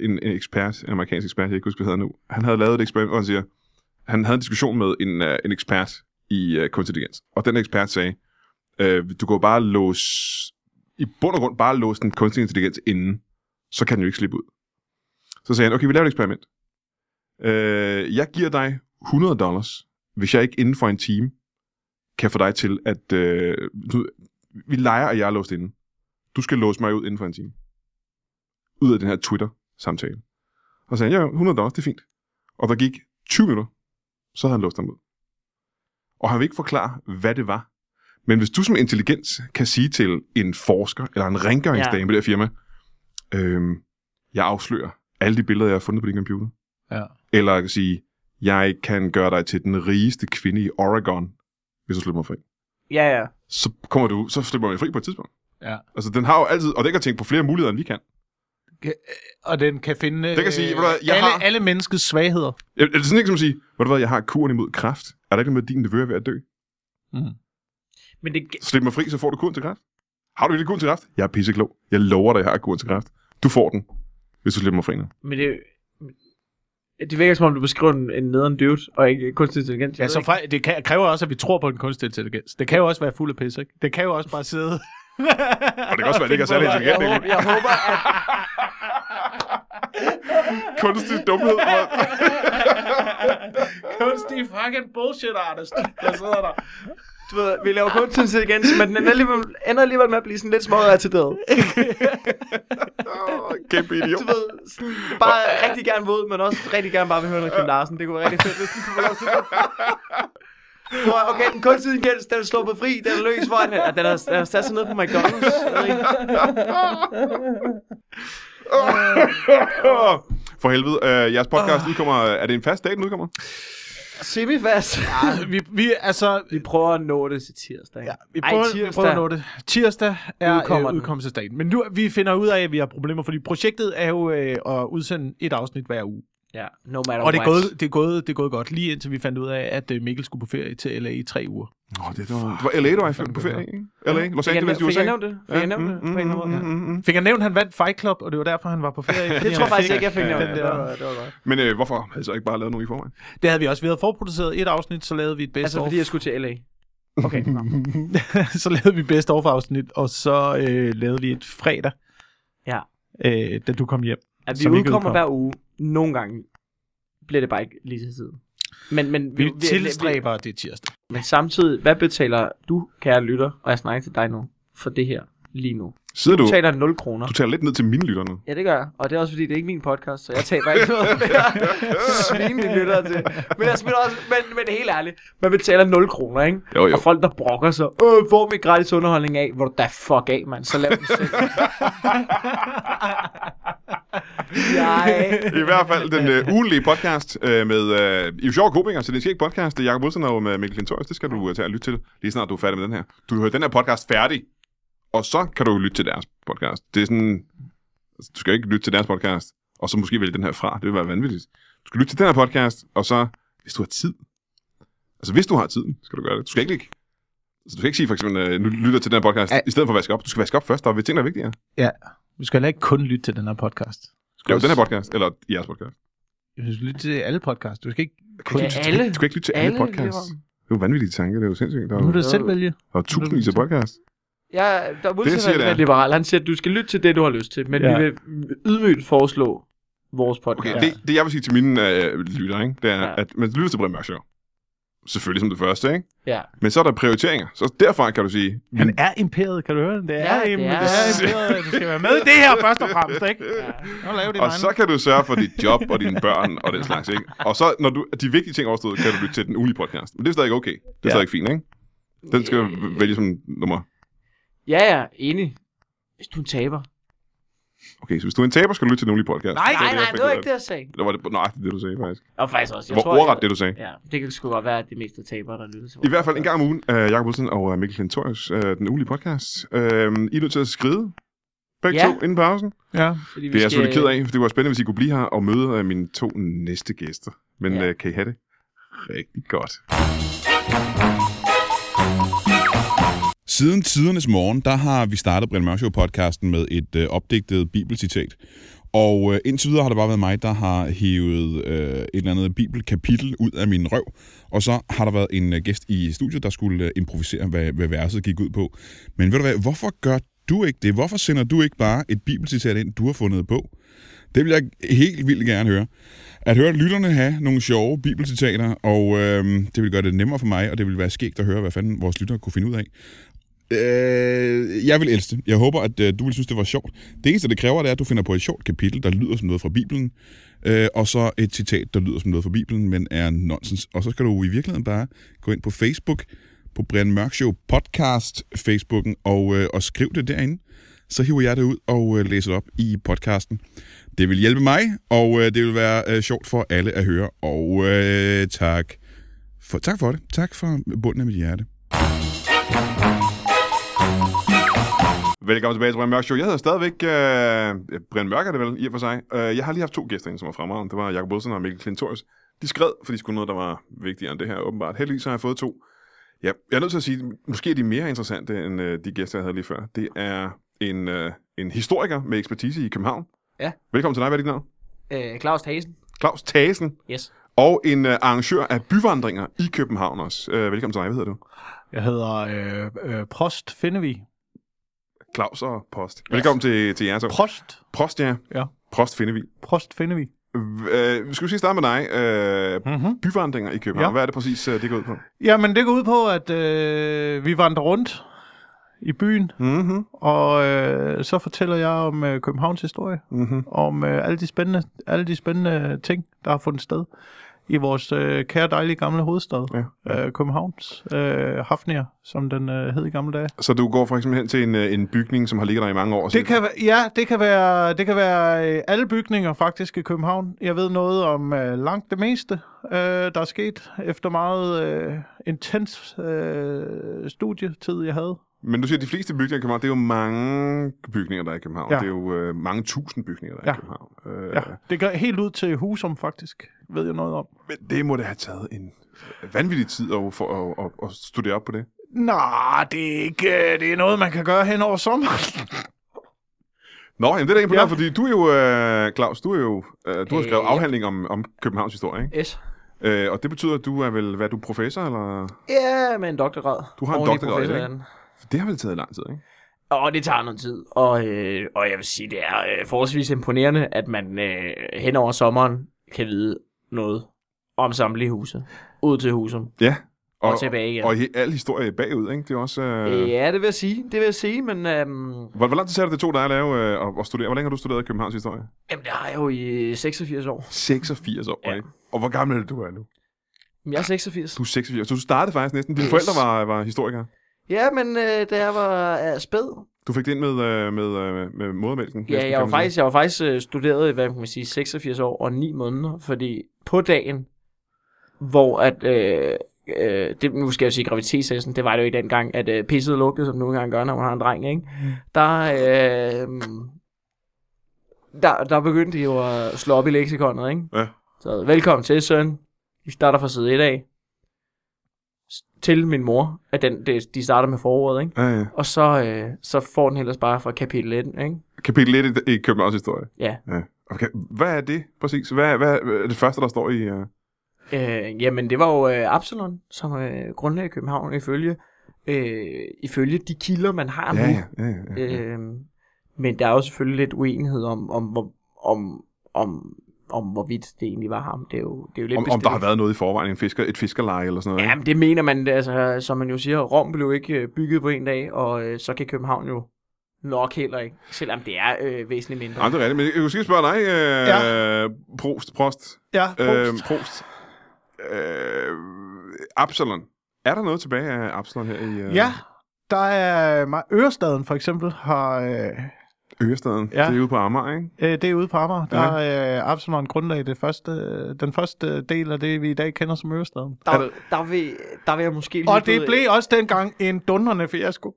en, en ekspert, en amerikansk ekspert, jeg kan ikke husker, hvad han hedder nu, han havde lavet et eksperiment, hvor han siger, han havde en diskussion med en, øh, en ekspert i øh, kunstig intelligens, og den ekspert sagde, øh, du kan jo bare låse, i bund og grund bare låse den kunstige intelligens inden, så kan den jo ikke slippe ud. Så sagde han, okay, vi laver et eksperiment. Øh, jeg giver dig 100 dollars, hvis jeg ikke inden for en time kan få dig til at... Øh, nu- vi leger, at jeg er låst inde. Du skal låse mig ud inden for en time. Ud af den her Twitter-samtale. Og så sagde han, ja, 100 dollars, det er fint. Og der gik 20 minutter, så havde han låst ham ud. Og han vil ikke forklare, hvad det var. Men hvis du som intelligens kan sige til en forsker, eller en rengøringsdame ja. på det her firma, øhm, jeg afslører alle de billeder, jeg har fundet på din computer. Ja. Eller jeg kan sige, jeg kan gøre dig til den rigeste kvinde i Oregon, hvis du slipper mig fri. Ja, ja. Så kommer du, så slipper man fri på et tidspunkt. Ja. Altså, den har jo altid, og den kan tænke på flere muligheder, end vi kan. øh, Og den kan finde øh, Det kan sige, ved du hvad, jeg alle, har- alle menneskets svagheder. Ja, Det er sådan ikke som at sige, ved du hvad, jeg har kuren imod kræft. Er der ikke noget med, at din nevø er ved at dø? Men det, Slip mig fri, så får du kuren til kræft. Har du ikke kuren til kræft? Jeg er pisseklog. Jeg lover dig, jeg har kuren til kræft. Du får den, hvis du slipper mig fri nu. men det, det virker som om, du beskriver en, en nederen dude, og ikke kunstig intelligens. Jeg Ja, ved så ikke. fra, det kan, kræver også, at vi tror på en kunstig intelligens. Det kan jo også være fuld af pis, ikke? Det kan jo også bare sidde... og Og det kan også være, at det ikke er særlig jeg, intelligent. håber, egentlig. jeg håber, at Kunstig dumhed. hvor- Kunstig fucking bullshit artist, der sidder der. Du ved, vi laver kun sådan set igen, men den ender alligevel, ender alligevel med at blive sådan lidt småret til død. Åh, Kæmpe idiot. Du ved, sådan bare rigtig gerne våd, men også rigtig gerne bare vil høre noget Kim Larsen. Det kunne være rigtig fedt, hvis den kunne få lov til det. Prøv at- Okay, den kunstige intelligens, den er sluppet fri, den er løs foran, og den er, den er sat sig ned på McDonald's. Jeg ved ikke. For helvede, øh, jeres podcast udkommer, er det en fast dag, den udkommer? Semifast. vi, vi, altså, Vi prøver at nå det til tirsdag. Ja, vi prøver, Ej, vi prøver at nå det. Tirsdag er Udkommer øh, den. udkommelsesdagen. Men nu vi finder ud af, at vi har problemer, fordi projektet er jo øh, at udsende et afsnit hver uge. Ja, no matter Og det er, what. gået, det, er gået, det er gået godt, lige indtil vi fandt ud af, at øh, Mikkel skulle på ferie til LA i tre uger. Nå, det, det, var, det var LA, du var i- på ferie, ikke? LA, Los Fik Angeles, jeg, nævnt- fik USA. jeg nævnt det? Fik jeg nævnt det? På en eller anden måde. mm, mm. Fik jeg nævnt, at han vandt Fight Club, og det var derfor, han var på ferie? Det tror jeg faktisk ikke, jeg fik Ja, nævnt. ja, Det ja. var, det var godt. Men øh, hvorfor havde I så ikke bare lavet nogen i forvejen? Det havde vi også. Vi havde forproduceret et afsnit, så lavede vi et bedst Altså, of. fordi jeg skulle til LA. Okay, nå. så lavede vi bedst of afsnit, og så øh, lavede vi et fredag, Ja. øh, da du kom hjem. At vi Som ikke udkommer udkom. hver uge. Nogle gange bliver det bare ikke lige til tiden. Men, men, Vi, vi tilstræber det tirsdag. vi- men samtidig, hvad betaler du, kære lytter, og jeg snakker til dig nu, for det her lige nu? Sidder du, Du taler 0 kroner. du taler lidt ned til mine lytter nu. Ja, det gør jeg. Og det er også fordi, det er ikke min podcast, så jeg taber ikke noget mere svin, de lytter til. Men, jeg smider også, men, men helt ærligt, man betaler 0 kroner, ikke? Jo, jo. Og folk, der brokker sig, øh, hvor er min gratis underholdning af? Hvor er du da fuck af, mand? Så lav den selv. jeg I hvert fald den øh, ugelige podcast øh, med øh, I er jo sjove komikere, så det er ikke podcast. Det er Jacob Wilson og med Mikkel Klintorius. Det skal du øh, tage og lytte til, lige snart du er færdig med den her. Du hører den her podcast færdig, og så kan du lytte til deres podcast. Det er sådan... altså, Du skal ikke lytte til deres podcast, og så måske vælge den her fra. Det vil være vanvittigt. Du skal lytte til den her podcast, og så, hvis du har tid... Altså, hvis du har tiden, skal du gøre det. Du skal ikke ligge... Altså, du skal ikke sige for eksempel, øh, nu lytter jeg til den her podcast, Ja. i stedet for at vaske op. Du skal vaske op først, der er ting, der er vigtigere. Ja, vi skal heller ikke kun lytte til den her podcast. Jo, den her podcast, eller jeres podcast. Du skal lytte til alle podcasts. Du skal ikke Du kun kan Ja, ikke lytte til- til alle. Du kan ikke lytte til alle, Alle podcasts. lever. Det er jo vanvittige tanker, det er jo sindssygt. Der er, Nu må jo- du selv vælge. der er tusindvis af podcasts. Ja, der er siger det modsætter er. med liberal. Han siger, at du skal lytte til det, du har lyst til. Men Ja. ja. vi vil ydmygt foreslå vores podcast. Okay, Okay, det, det jeg vil sige til mine øh, lytter, ikke, det er, Ja. ja. at man lytter til Brian Mørk Show. Selvfølgelig som det første, ikke? Ja. Men så er der prioriteringer. Så derfra kan du sige... Han er imperiet, kan du høre det? Det er, Ja, det im- er- det er imperiet. Du skal være med i det her først og fremmest, ikke? Ja. Nu laver din Og egen. så kan du sørge for dit job og dine børn og den slags, ikke? Og så, når du, de vigtige ting overstået, kan du lytte til den ugenlige podcast. Men det er stadig okay. Det er Ja. ja. stadig fint, ikke? Den skal du vælge som nummer. Ja, ja, enig. Hvis du er en taber. Okay, så hvis du er en taber, skal du lytte til den ugenlige podcast. Nej, var Nej, nej, jeg det fik var ud ikke det, af jeg sagde. det. var det nøjagtigt det, du sagde, faktisk. Og faktisk også, jeg Hvor tror... ordret jeg, det, du sagde. Ja, det kan sgu godt være, at det mest er tabere, der lytter til I vores hvert fald en podcast. gang om ugen, øh, Jakob Wilson og øh, Mikkel Klintorius, øh, den ugelige podcast. Øh, I er nødt til at skride begge Ja. ja. to inden pausen. Ja. Fordi Det er jeg selvfølgelig ked af, for det var spændende, hvis I kunne blive her og møde øh, mine to næste gæster. Men Ja. ja. øh, kan I have det rigtig godt. Siden tidernes morgen, der har vi startet Brian Mørk Show podcasten med et øh, opdigtet bibelcitat. Og øh, indtil videre har det bare været mig, der har hævet øh, et eller andet bibelkapitel ud af min røv. Og så har der været en øh, gæst i studiet, der skulle øh, improvisere, hvad, hvad verset gik ud på. Men ved du hvad, hvorfor gør du ikke det? Hvorfor sender du ikke bare et bibelcitat ind, du har fundet på? Det vil jeg helt vildt gerne høre. At høre lytterne have nogle sjove bibelcitater, og øh, det vil gøre det nemmere for mig, og det vil være skægt at høre, hvad fanden vores lyttere kunne finde ud af. Øh, jeg vil elske det. Jeg håber, at øh, du vil synes, det var sjovt. Det eneste, det kræver, det er, at du finder på et sjovt kapitel, der lyder som noget fra Bibelen, øh, og så et citat, der lyder som noget fra Bibelen, men er nonsens. Og så skal du i virkeligheden bare gå ind på Facebook, på Brian Mørk Show Podcast Facebooken, og, øh, og skriv det derinde. Så hiver jeg det ud og øh, læser det op i podcasten. Det vil hjælpe mig, og øh, det vil være øh, sjovt for alle at høre. Og øh, tak, for, tak for det. Tak fra bunden af mit hjerte. Velkommen tilbage til Brian Mørk Show. Jeg hedder stadigvæk... Øh, Brian Mørk er det vel, i og for sig. Øh, jeg har lige haft to gæster ind, som var fremragende. Det var Jakob Wilson og Mikkel Klintorius. De skred, fordi de skulle noget, der var vigtigere end det her, åbenbart. Heldigvis har jeg fået to. Ja, jeg er nødt til at sige, måske er de mere interessante end øh, de gæster, jeg havde lige før. Det er en, øh, en historiker med ekspertise i København. Ja. Velkommen til dig, hvad er dit navn? Øh, Claus Hasen. Claus Thasen. Yes. Og en øh, arrangør af byvandringer i København også. Øh, velkommen til dig, hvad hedder du? Jeg hedder øh, øh, Prost Finnevi. Claus og Post. Velkommen til, til jer så. Prost. Prost, ja. Ja. Prost Findevi. Prost Finnevi. Øh, skal vi sige starte med dig? Øh, Mm-hmm. byvandringer i København. Ja. Ja. Hvad er det præcis, øh, det går ud på? Jamen, det går ud på, at øh, vi vandrer rundt i byen, Mm-hmm. og øh, så fortæller jeg om øh, Københavns historie, Mm-hmm. om øh, alle, de spændende, alle de spændende ting, der har fundet sted i vores øh, kære, dejlige gamle hovedstad, Ja. øh, Københavns øh, Hafnir, som den øh, hed i gamle dage. Så du går for eksempel hen til en, øh, en bygning, som har ligget der i mange år? og Det siger, kan, væ- ja, det kan være, det kan være øh, alle bygninger faktisk i København. Jeg ved noget om øh, langt det meste, øh, der er sket efter meget øh, intens øh, studietid, jeg havde. Men du siger, at de fleste bygninger i København, det er jo mange bygninger, der er i København. Ja. Ja. Det er jo øh, mange tusind bygninger, der er ja. Ja. i København. Øh, Ja, det gør helt ud til Husum faktisk, ved jeg noget om. Men det må da have taget en vanvittig tid at, for, at, at, at studere op på det. Nå, det er ikke øh, det er noget, man kan gøre hen over sommeren. Nå, jamen det er da imponerende, ja. Ja. fordi du er jo, øh, Claus, du, er jo, øh, du har Øh, skrevet ja. afhandling om, om Københavns historie, ikke? Yes. Øh, og det betyder, at du er vel, hvad er du, professor, eller? Ja, med en doktorgrad. Du har en Oven i doktorgrad, professoren. Det har vel taget lang tid, ikke? Og det tager noget tid, og, øh, og jeg vil sige, det er øh, forholdsvis imponerende, at man øh, hen over sommeren kan vide noget om samtlige huse. Ud til Husum Ja. og, og tilbage igen. Og he- al historie er bagud, ikke? Det er også... Øh, Øh, ja, det vil jeg sige, det vil jeg sige, men øhm, Hvor, hvor lang tid sagde du, det tog dig at lave øh, og, og studere? Hvor længe har du studeret Københavns historie? jamen, det har jeg jo i øh, 86 år. 86 år, ja. Ja. ikke? Og hvor gammel er det, du er nu? Jamen, jeg er 86. Du er 86. Så du startede faktisk næsten. Dine Yes. forældre var, var historikere. Ja, men øh, da jeg var øh, spæd, Du fik det ind med, øh, med, øh, med modermælken. ja, næsten, jeg kan var man sige. faktisk, jeg var faktisk øh, studeret i, hvad kan man sige, 86 år og 9 måneder, fordi på dagen, hvor at, øh, øh, det, nu skal jeg jo sige graviditetshessen, det var det jo i den gang, at øh, pisset lugtede, som det nogle gange gør, når man har en dreng, ikke? Mm. Der, øh, der, der begyndte de jo at slå op i leksikonet, ikke? Ja. Så velkommen til, søn. Vi starter fra side 1 af. S- Til min mor, at den, det, de starter med forordet, ikke? Ja, ja. Og så, øh, så får den ellers bare fra kapitel 1, ikke? Kapitel 1 i, i Københavns historie. Ja. ja. Okay. Hvad er det præcis? Hvad, hvad er det første, der står i... Øh... Øh, jamen, det var jo øh, Absalon, som øh, grundlagde København ifølge, øh, ifølge de kilder, man har nu. Ja, ja, ja, ja, ja. Øh, men der er jo selvfølgelig lidt uenighed om, om, om, om, om, om hvorvidt det egentlig var ham. Det er jo, det er jo lidt Om, om bestilt. der har været noget i forvejen, en fisker, et fiskerleje eller sådan noget. ikke? Jamen, det mener man, altså, som man jo siger, Rom blev ikke øh, bygget på en dag, og øh, så kan København jo nok heller ikke, selvom det er øh, væsentligt mindre. Jamen, det er rigtigt, men jeg kunne sikkert spørge dig, øh, ja. Ja. Prost, Prost. Ja, Øh, prost. prost. Øh, Absalon. Er der noget tilbage af Absalon her i øh, Ja, der er øh, ma- Ørestaden for eksempel har... Øh, Ørestaden? Ja. Ja. Det er ude på Amager, ikke? øh, det er ude på Amager. Der er øh, Absalon grundlag det første, øh, den første del af det, vi i dag kender som Ørestaden. Der, er det- der, vil, der vil jeg måske lige Og det byde- blev også dengang en dundrende fiasko.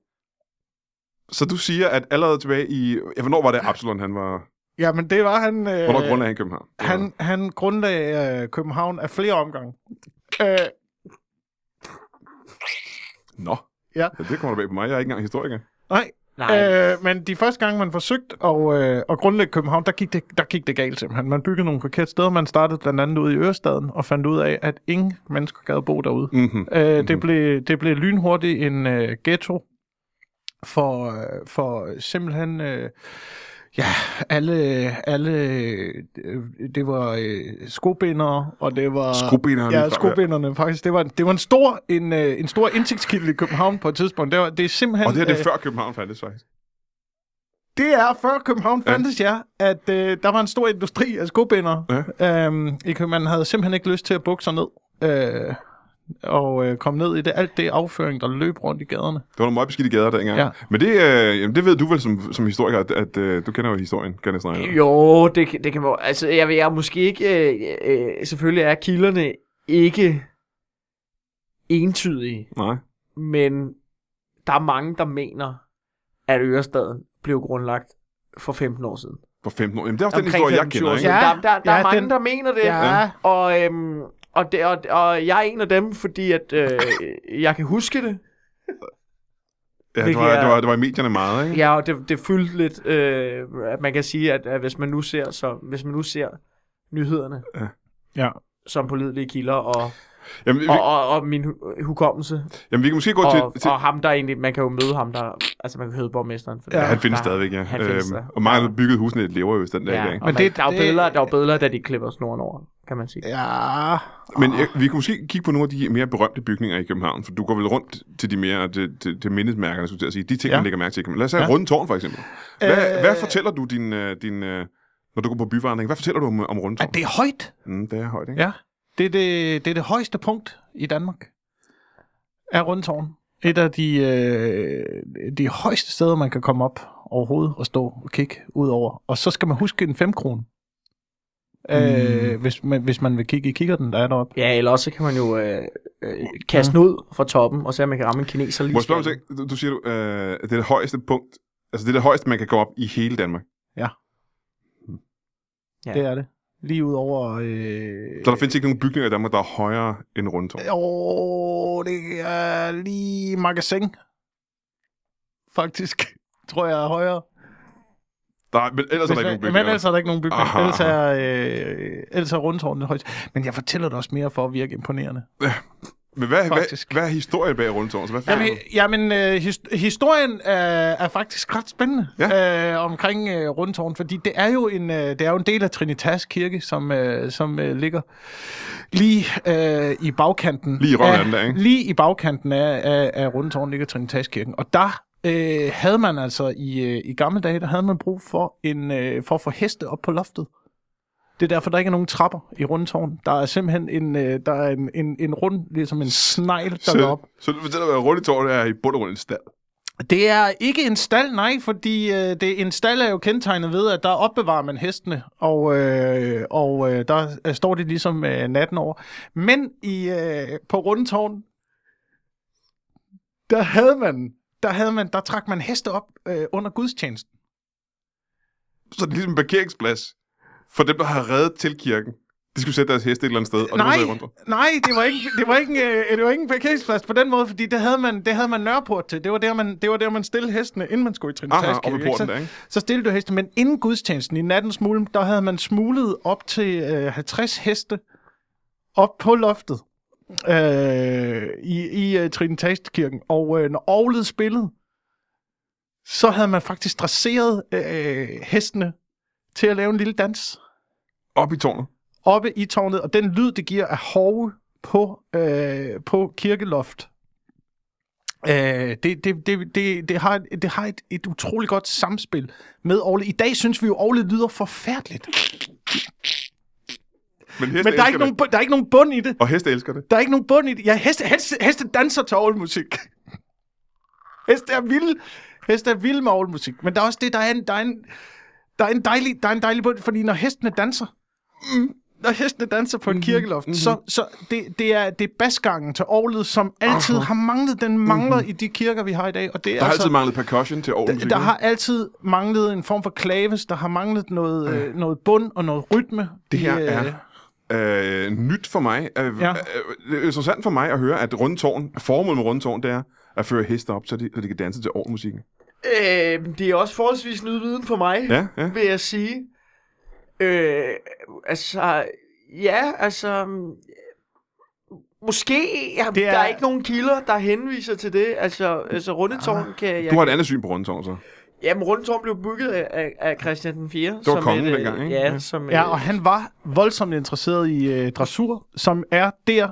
Så du siger, at allerede tilbage i... Ja, hvornår var det Absalon, han var... Jamen, det var han... Øh, Hvornår grundlagde han København? han, han grundlagde øh, København af flere omgange. Øh, Nå. Ja. ja. Det kommer der bag på mig. Jeg er ikke engang historiker. nej, Nej, øh, men de første gange, man forsøgte at, øh, at grundlægge København, der gik, det, der gik det galt simpelthen. Man byggede nogle forkerte steder. Man startede blandt andet ude i Ørestaden og fandt ud af, at ingen mennesker gad bo derude. Mm-hmm. Øh, det, blev, det blev lynhurtigt en øh, ghetto for, øh, for simpelthen... Øh, Ja, alle, alle, øh, det var øh, skobindere, og det var... Skobinderne. Ja, skobinderne faktisk. Det var, det var en stor, en, øh, en stor indtægtskilde i København på et tidspunkt. Det, var, det er simpelthen... Og det her, det øh, er før København fandtes, faktisk. det er før København Ja. fandtes, ja, at øh, der var en stor industri af skobindere. Ja. Øhm, i København. man havde simpelthen ikke lyst til at bukke sig ned øh, og øh, komme ned i det. Alt det afføring, der løb rundt i gaderne. Det var nogle meget beskidte gader dengang. Ja. Men det, øh, jamen, det ved du vel som, som historiker, at, at øh, du kender jo historien, kan jeg næsten Øh. regne ud. Jo, det, kan- det kan man... Altså, jeg, vil- jeg er måske ikke... Øh, øh, selvfølgelig er kilderne ikke entydige, Nej. men der er mange, der mener, at Ørestaden blev grundlagt for 15 år siden. For 15 år. Jamen, det er også den Omkring historie, jeg 15 kender, år ikke? siden. Ja, Der, der, der ja, er mange, den- der mener det. Ja. Og, øhm, og, det og, og jeg er en af dem, fordi at, øh, jeg kan huske det. Ja, det hvilket var, er- det, var, det var i medierne meget, ikke? Ja, og det, det fyldte lidt, øh, at man kan sige, at, at hvis man nu ser, så, hvis man nu ser nyhederne, Ja. som pålidelige kilder, og Jamen, vi, Og, og, og min hu- hukommelse. jamen, vi kan måske gå til... Og, til og ham, der egentlig... Man kan jo møde ham, der... Altså, man kan hedde borgmesteren. For ja, han findes stadigvæk, ja. Han findes øhm, der. og mange, der byggede husene, lever jo vist den dag i Ja, dag. og ikke? Men men det- det, der, er jo det- billeder, der er jo billeder, da de klipper snoren over, kan man sige. Ja. Men jeg, vi kan måske kigge på nogle af de mere berømte bygninger i København, for du går vel rundt til de mere til, til, til mindesmærkerne, skulle jeg til at sige. De ting, Ja. ja. man lægger mærke til. i København. Lad os tage ja. Runde Tårn, for eksempel. Hvad, Øh. øh... hvad fortæller du din, øh, din, øh, når du går på byvandring? Hvad fortæller du om, om Runde Er Tårn? det er højt? Mm, det er højt, ikke? Ja. Det er det, det er det højeste punkt i Danmark. Er Rundtårn. Et af de, øh, de højeste steder, man kan komme op overhovedet og stå og kigge ud over. Og så skal man huske en 5 kron. Øh, hvis, man, hvis man vil kigge i kikkerten, der er deroppe. Ja, eller også kan man jo øh, øh, kaste den ud fra toppen, og se, om man kan ramme en kineser lige. Mm. Må jeg spørge i om skallen. en ting? Du, du siger, du, øh, det er det højeste punkt. Altså, det er det højeste, man kan gå op i hele Danmark. Ja. Ja. Det er det. Lige ud over... Øh, Så der findes ikke nogen bygninger i Danmark, der er højere end Runde Tårn. Åh, det er lige magasin. Faktisk, tror jeg er højere. Der er, men ellers er der ikke nogen Hvis- bygninger. men ellers er der ikke nogen bygninger. Aha, Ellers er, øh, ellers er rundtårnet det højeste. Men jeg fortæller det også mere for at virke imponerende. Men hvad, Faktisk. hvad, hvad er historien bag Runde Tårn? Så hvad Jamen, finder hi- jamen øh, his- historien er, er faktisk ret spændende øh, omkring øh, rundtårn, fordi det er jo en, øh, det er jo en del af Trinitas kirke, som, øh, som øh, ligger lige øh, i bagkanten. Lige i røven af den der, ikke? Lige i bagkanten af, af, af rundtårn ligger Trinitas kirken. Og der øh, havde man altså i, øh, i gamle dage, der havde man brug for, en, øh, for at få heste op på loftet. Det er derfor, der ikke er nogen trapper i rundtårn. Der er simpelthen en, øh, der er en, en, en rund, ligesom en snegl, der så, går op. så du fortæller mig, at Runde Tårn er i bund og grund en stald. Det er ikke en stald, nej, fordi øh, det, en stald er jo kendetegnet ved, at der opbevarer man hestene, og, øh, og øh, der øh, står de ligesom øh, natten over. Men i øh, på Rundetårn, der havde man, der havde man, der trak man heste op øh, under gudstjenesten. Så er det ligesom en parkeringsplads for dem, der har reddet til kirken. De skulle sætte deres heste et eller andet sted, og det var nej, så i Runde Tårn. nej, det var ikke, det var ikke, en, øh, det var ikke en parkeringsplads på den måde, fordi det havde man, det havde man Nørreport til. Det var der man, det var der man stillede hestene, inden man skulle i Trinitas. Aha, oppe i porten der, ikke? Så stille du heste, men inden gudstjenesten i nattens mulm, der havde man smuglet op til øh, 50 heste op på loftet øh, i, i uh, Trinitaskirken. Og øh, når Aarhus spillede, så havde man faktisk dresseret øh, hestene til at lave en lille dans Oppe i tårnet. oppe i tårnet, og den lyd, det giver af hove på, øh, på kirkeloft, øh, det, det, det, det, det har, et- det har et, et utroligt godt samspil med Orle. I dag synes vi jo, Orle lyder forfærdeligt, Men, heste men der er, ikke nogen, nogen... bu- der er ikke nogen bund i det. Og heste elsker det. Der er ikke nogen bund i det. Ja, heste, heste, heste danser til orgelmusik. Heste er vilde. Heste er vilde med orgelmusik. Men der er også det, der er en, der er en, der er en, dejlig, der er en dejlig bund, fordi når hestene danser, mm, når hestene danser på en Mhm. mm-hmm. kirkeloft, mm-hmm. så, så det, det er, det er basgangen til orgelet, som altid har manglet. Den mangler mm-hmm. i de kirker, vi har i dag. Og det er Mhm. Der har altså, altid manglet percussion til Aarhus. der har altid manglet en form for klaves, der har manglet noget, øh. noget bund og noget rytme. Det her i, er øh, nyt for mig. Øh, Ja. ja. øh, det er interessant for mig at høre, at rundtårn, formålet med rundtårn, det er at føre heste op, så de, så de kan danse til Aarhus-musikken. Øh, det er også forholdsvis ny viden for mig, Ja, ja. vil jeg sige. Øh, altså, ja, altså... mm, Måske, ja, Det er... er- der er ikke nogen kilder, der henviser til det. Altså, altså Rundetårn ah, kan jeg... Du har et andet syn på rundtårn, så. Jamen, Rundetårn blev bygget af, af- af Christian den 4. Det var kongen dengang, ikke? øh, Ja, Ja. som, Ja, øh, og han var voldsomt interesseret i øh, dressur, som er der.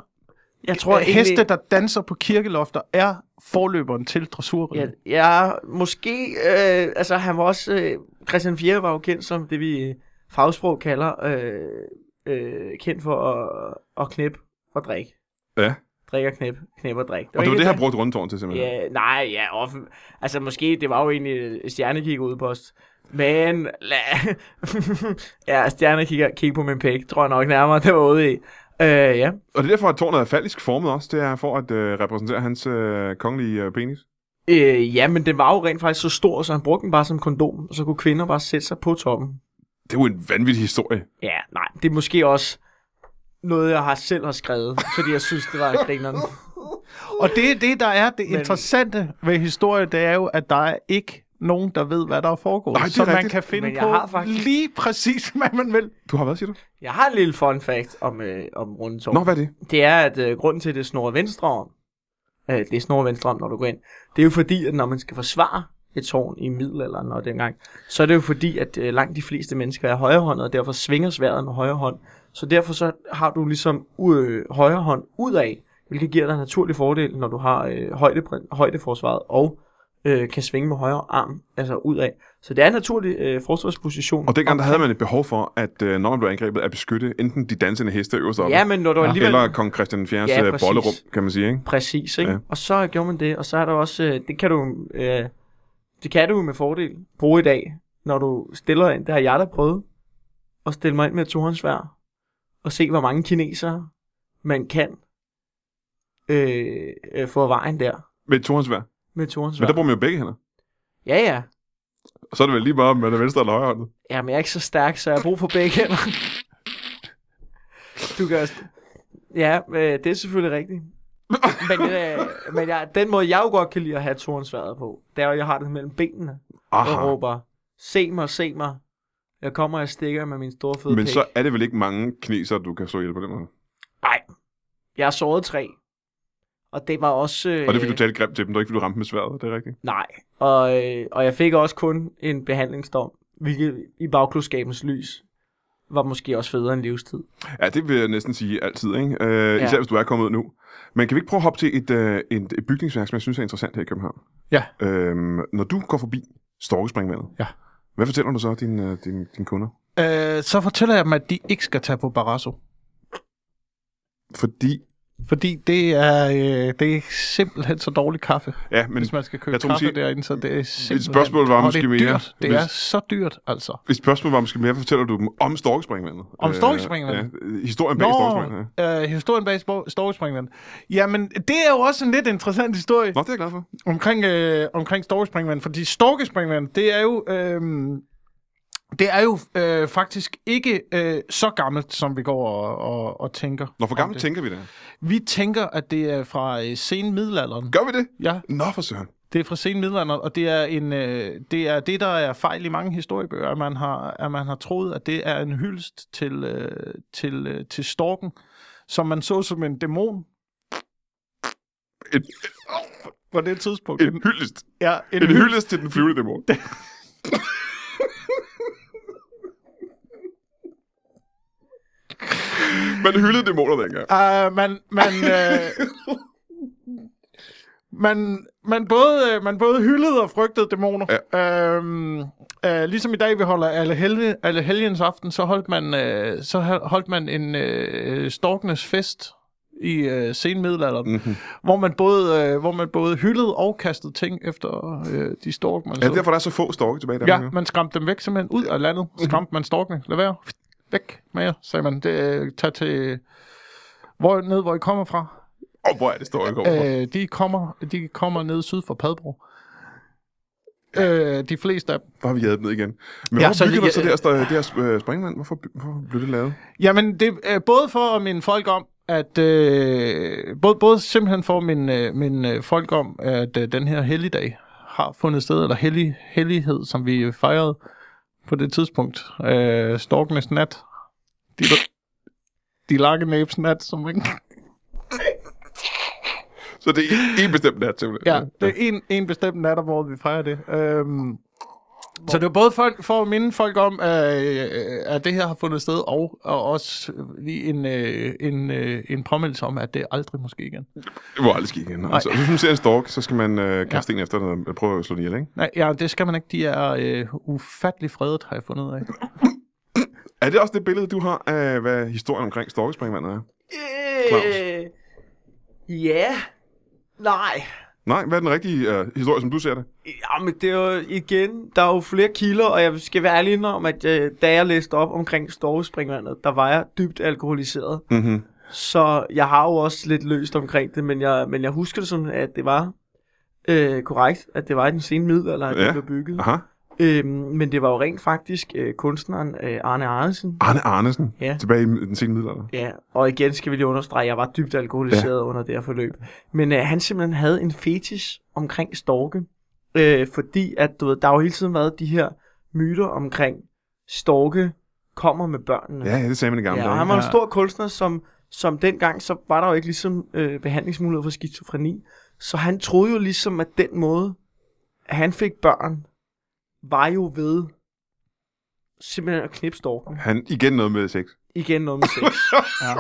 jeg tror, Tror jeg, heste, egentlig- der danser på kirkelofter, er forløberen til dressur. Ja. Ja, ja måske, øh, altså han var også, øh, Christian 4 var jo kendt som det, vi i fagsprog kalder, øh, øh, kendt for at, at knæppe og drikke. Ja. Drik og knæppe, knæppe og drikke. Og det var det, ikke- han brugte rundtårn til, simpelthen. Ja, nej, ja, og, altså måske, det var jo egentlig stjernekigger ude post. Men, la, ja, stjernekigger, kig på min pæk, tror jeg nok nærmere, det var ude i. Øh, ja. Og det er derfor, at tårnet er faldisk formet også. Det er for at øh, repræsentere hans øh, kongelige øh, penis. Øh, ja, men den var jo rent faktisk så stor, så han brugte den bare som kondom, og så kunne kvinder bare sætte sig på toppen. Det er jo en vanvittig historie. Ja, nej, det er måske også noget, jeg har selv har skrevet, fordi jeg synes, det var grineren. Og det, er det, der er det Men- interessante ved historie, det er jo, at der er ikke nogen, der ved, hvad der er foregået. Nej, det er så man rigtigt. kan finde Men jeg på har faktisk- lige præcis, hvad man vil. Du har hvad, siger du? Jeg har en lille fun fact om, øh, om rundetårn. Nå, hvad er det? Det er, at øh, grunden til, at det snor venstre om, øh, det snor venstre om, når du går ind, det er jo fordi, at når man skal forsvare et tårn i middelalderen og dengang, så er det jo fordi, at øh, langt de fleste mennesker er højrehåndede, og derfor svinger sværet med højre hånd. Så derfor så har du ligesom øh, højre hånd udad, hvilket giver dig en naturlig fordel, når du har øh, højde, højdeforsvaret og øh, kan svinge med højre arm, altså udad. Så det er en naturlig øh, forsvarsposition. Og dengang, der havde man et behov for, at øh, når man blev angrebet, at beskytte enten de dansende heste øverst oppe, Ja, men når du Ja. alligevel... eller kong Christian IV's Ja, ja, præcis. bollerum, kan man sige, ikke? Præcis, ikke? Ja. Ja. Og så gjorde man det, og så er der også, øh, det kan du, øh, det kan du med fordel bruge i dag, når du stiller ind, det har jeg da prøvet, at stille mig ind med et tohåndssvær, og se, hvor mange kinesere man kan øh, øh, få af vejen der Med et tohåndsvær. med et Men tohåndssvær. der bruger man jo begge hænder. Ja, ja. Og så er det vel lige bare med det venstre eller højre hånd. Jamen, jeg er ikke så stærk, så jeg har brug for begge hænder. du kan også... Ja, øh, det er selvfølgelig rigtigt. men øh, men jeg, den måde, jeg jo godt kan lide at have torensværet på, det er jo, at jeg har det mellem benene og Aha. råber, se mig, se mig. Jeg kommer og stikker med min store fede Men pik. så er det vel ikke mange kineser, du kan slå ihjel på den måde. Jeg har såret tre. Og det var også... Øh, Og det er fordi, du talte grimt til dem, det er ikke fordi, du ramte med sværet, det er rigtigt. Nej, og, øh, og jeg fik også kun en behandlingsdom, hvilket i bagklodskabens lys var måske også federe end livstid. Ja, det vil jeg næsten sige altid, ikke? Øh, især Ja. hvis du er kommet ud nu. Men kan vi ikke prøve at hoppe til et, øh, et, et bygningsværk, som jeg synes er interessant her i København? Ja. Øhm, når du går forbi Storkespringvandet, Ja. hvad fortæller du så din, øh, din, din kunder? Øh, så fortæller jeg dem, at de ikke skal tage på Barrasso. Fordi, Fordi det er, øh, det er simpelthen så dårlig kaffe, ja, men hvis man skal købe jeg tror, man kaffe siger- derinde. Så det er simpelthen, spørgsmål var og måske det er mere, Dyrt. Det hvis- er så dyrt, altså. et spørgsmål var måske mere, hvad fortæller du dem om Storkespringvandet? Om Øh, Storkespringvandet? Ja, øh, historien bag Storkespringvandet. ja. øh, historien bag Spor- Storkespringvandet. Jamen, det er jo også en lidt interessant historie. Nå, det er jeg glad for. omkring, øh, omkring storkespringvand, fordi storkespringvand, det er jo... Øh, det er jo øh, faktisk ikke øh, så gammelt, som vi går og, og, og tænker. Nå, for om gammelt det. tænker vi det. Vi tænker, at det er fra øh, sen middelalderen. Gør vi det? Ja, Nå, for søren. det er fra sen middelalderen, og det er, en, øh, det er det, der er fejl i mange historiebøger, at man har, at man har troet, at det er en hyldest til, øh, til, øh, til storken, som man så som en dæmon Et, på det tidspunkt. et hyldest. ja, En hyldest til den flyvende dæmon. Man hyldede dæmoner dengang. Uh, man, man, uh, man, man, både, øh, man både hyldede og frygtede dæmoner. Ja. Uh, uh, ligesom i dag, vi holder alle, helge, alle helgens aften, så holdt man, uh, så hol- holdt man en uh, storkenes fest i uh, senmiddelalderen, Mhm. mm-hmm. hvor, man både, uh, hvor man både hyldede og kastede ting efter uh, de stork, man Ja, det er så. derfor, der er så få storke tilbage i Danmark. Ja, Ja. man skræmte dem væk simpelthen ud af landet. Skræmte man storkene. Lad være. Væk med jer, sagde man. Det, øh, tag til... Hvor, ned, hvor I kommer fra. Og hvor er det storke kommer fra? Øh, de, kommer, de kommer ned syd for Padborg. Øh, de fleste af dem. Hvor har vi hjadet ned igen. Men Ja, hvorfor så- byggede man så ja, det her, st- det her sp- øh, springvand? Hvorfor, by- hvorfor blev det lavet? Jamen, det er både for at minde folk om, at øh, både, både simpelthen for at minde, øh, minde øh, folk om, at øh, den her helligdag har fundet sted, eller hellig, hellighed, som vi øh, fejrede på det tidspunkt. Øh, Storkenes nat. De, de lange næbs nat, som ikke... Så det er en bestemt nat til. Ja, det er en, en bestemt nat om året, vi fejrer det. Øhm, så det er både for, for at minde folk om, øh, at det her har fundet sted, og, og også lige en, øh, en, øh, en påmindelse om, at det aldrig måske igen. Det var aldrig ske igen. Altså, hvis man ser en stork, så skal man øh, kaste ja. en efter den og prøve at slå den ihjel, ikke? Nej, ja, det skal man ikke. De er øh, ufattelig fredet, har jeg fundet ud af. Er det også det billede, du har af, hvad historien omkring storkespringvandet er? Øh, ja. Nej. Nej, hvad er den rigtige øh, historie, som du ser det? Jamen, det er jo igen, der er jo flere kilder, og jeg skal være ærlig om, at øh, da jeg læste op omkring Storvespringvandet, der var jeg dybt alkoholiseret. Mhm. Mm-hmm. Så jeg har jo også lidt løst omkring det, men jeg, men jeg husker det sådan, at det var øh, korrekt, at det var i den sene middelalder, at ja. Ja. det blev bygget. Aha. Øhm, men det var jo rent faktisk øh, kunstneren øh, Arne Arnesen. Arne Arnesen, Ja. tilbage i den sene middelalder. Ja, og igen skal vi lige understrege, at jeg var dybt alkoholiseret ja. under det her forløb. Men øh, han simpelthen havde en fetish omkring storke. Øh, fordi at, du ved, der har jo hele tiden været de her myter omkring, storke kommer med børnene. Ja, ja, det sagde man i gamle Ja, og dage. han var en Ja. stor kunstner, som, som dengang, så var der jo ikke ligesom øh, behandlingsmuligheder for skizofreni. Så han troede jo ligesom, at den måde, at han fik børn, var jo ved simpelthen at knippe storken. Han igen noget med sex. Igen noget med sex. ja.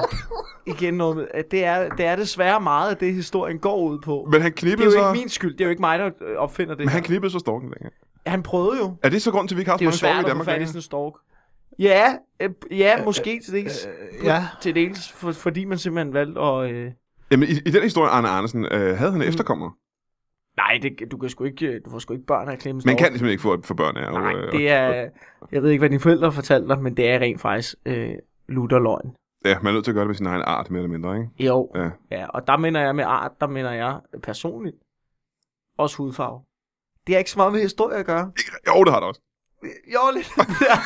Igen noget med, at det, er, det er desværre meget af det, historien går ud på. Men han det er knippede jo så... ikke min skyld, det er jo ikke mig, der øh, opfinder det Men han her. knippede så storken længere. Han prøvede jo. Er det så grund til, at vi ikke har Det så er jo mange storke i Danmark svært at få fat i længere? sådan en stork. Ja, øh, ja måske til dels, øh, Øh, ja. til dels for, fordi man simpelthen valgte at... Øh, Jamen, i, i den historie, Arne Andersen, øh, havde Mm. han efterkommere. Nej, det, du, kan sgu ikke, du får sgu ikke børn af at klemme Man stork. kan Øh, simpelthen ikke få for børn af. Nej, det er... Jeg ved ikke, hvad dine forældre fortalte dig, men det er rent faktisk øh, lutterløgn. Ja, man er nødt til at gøre det med sin egen art, mere eller mindre, ikke? Jo, Ja. ja. Og der mener jeg med art, der mener jeg personligt. Også hudfarve. Det har ikke så meget med historie at gøre. Jo, det har det også. Jo, lidt. Ja.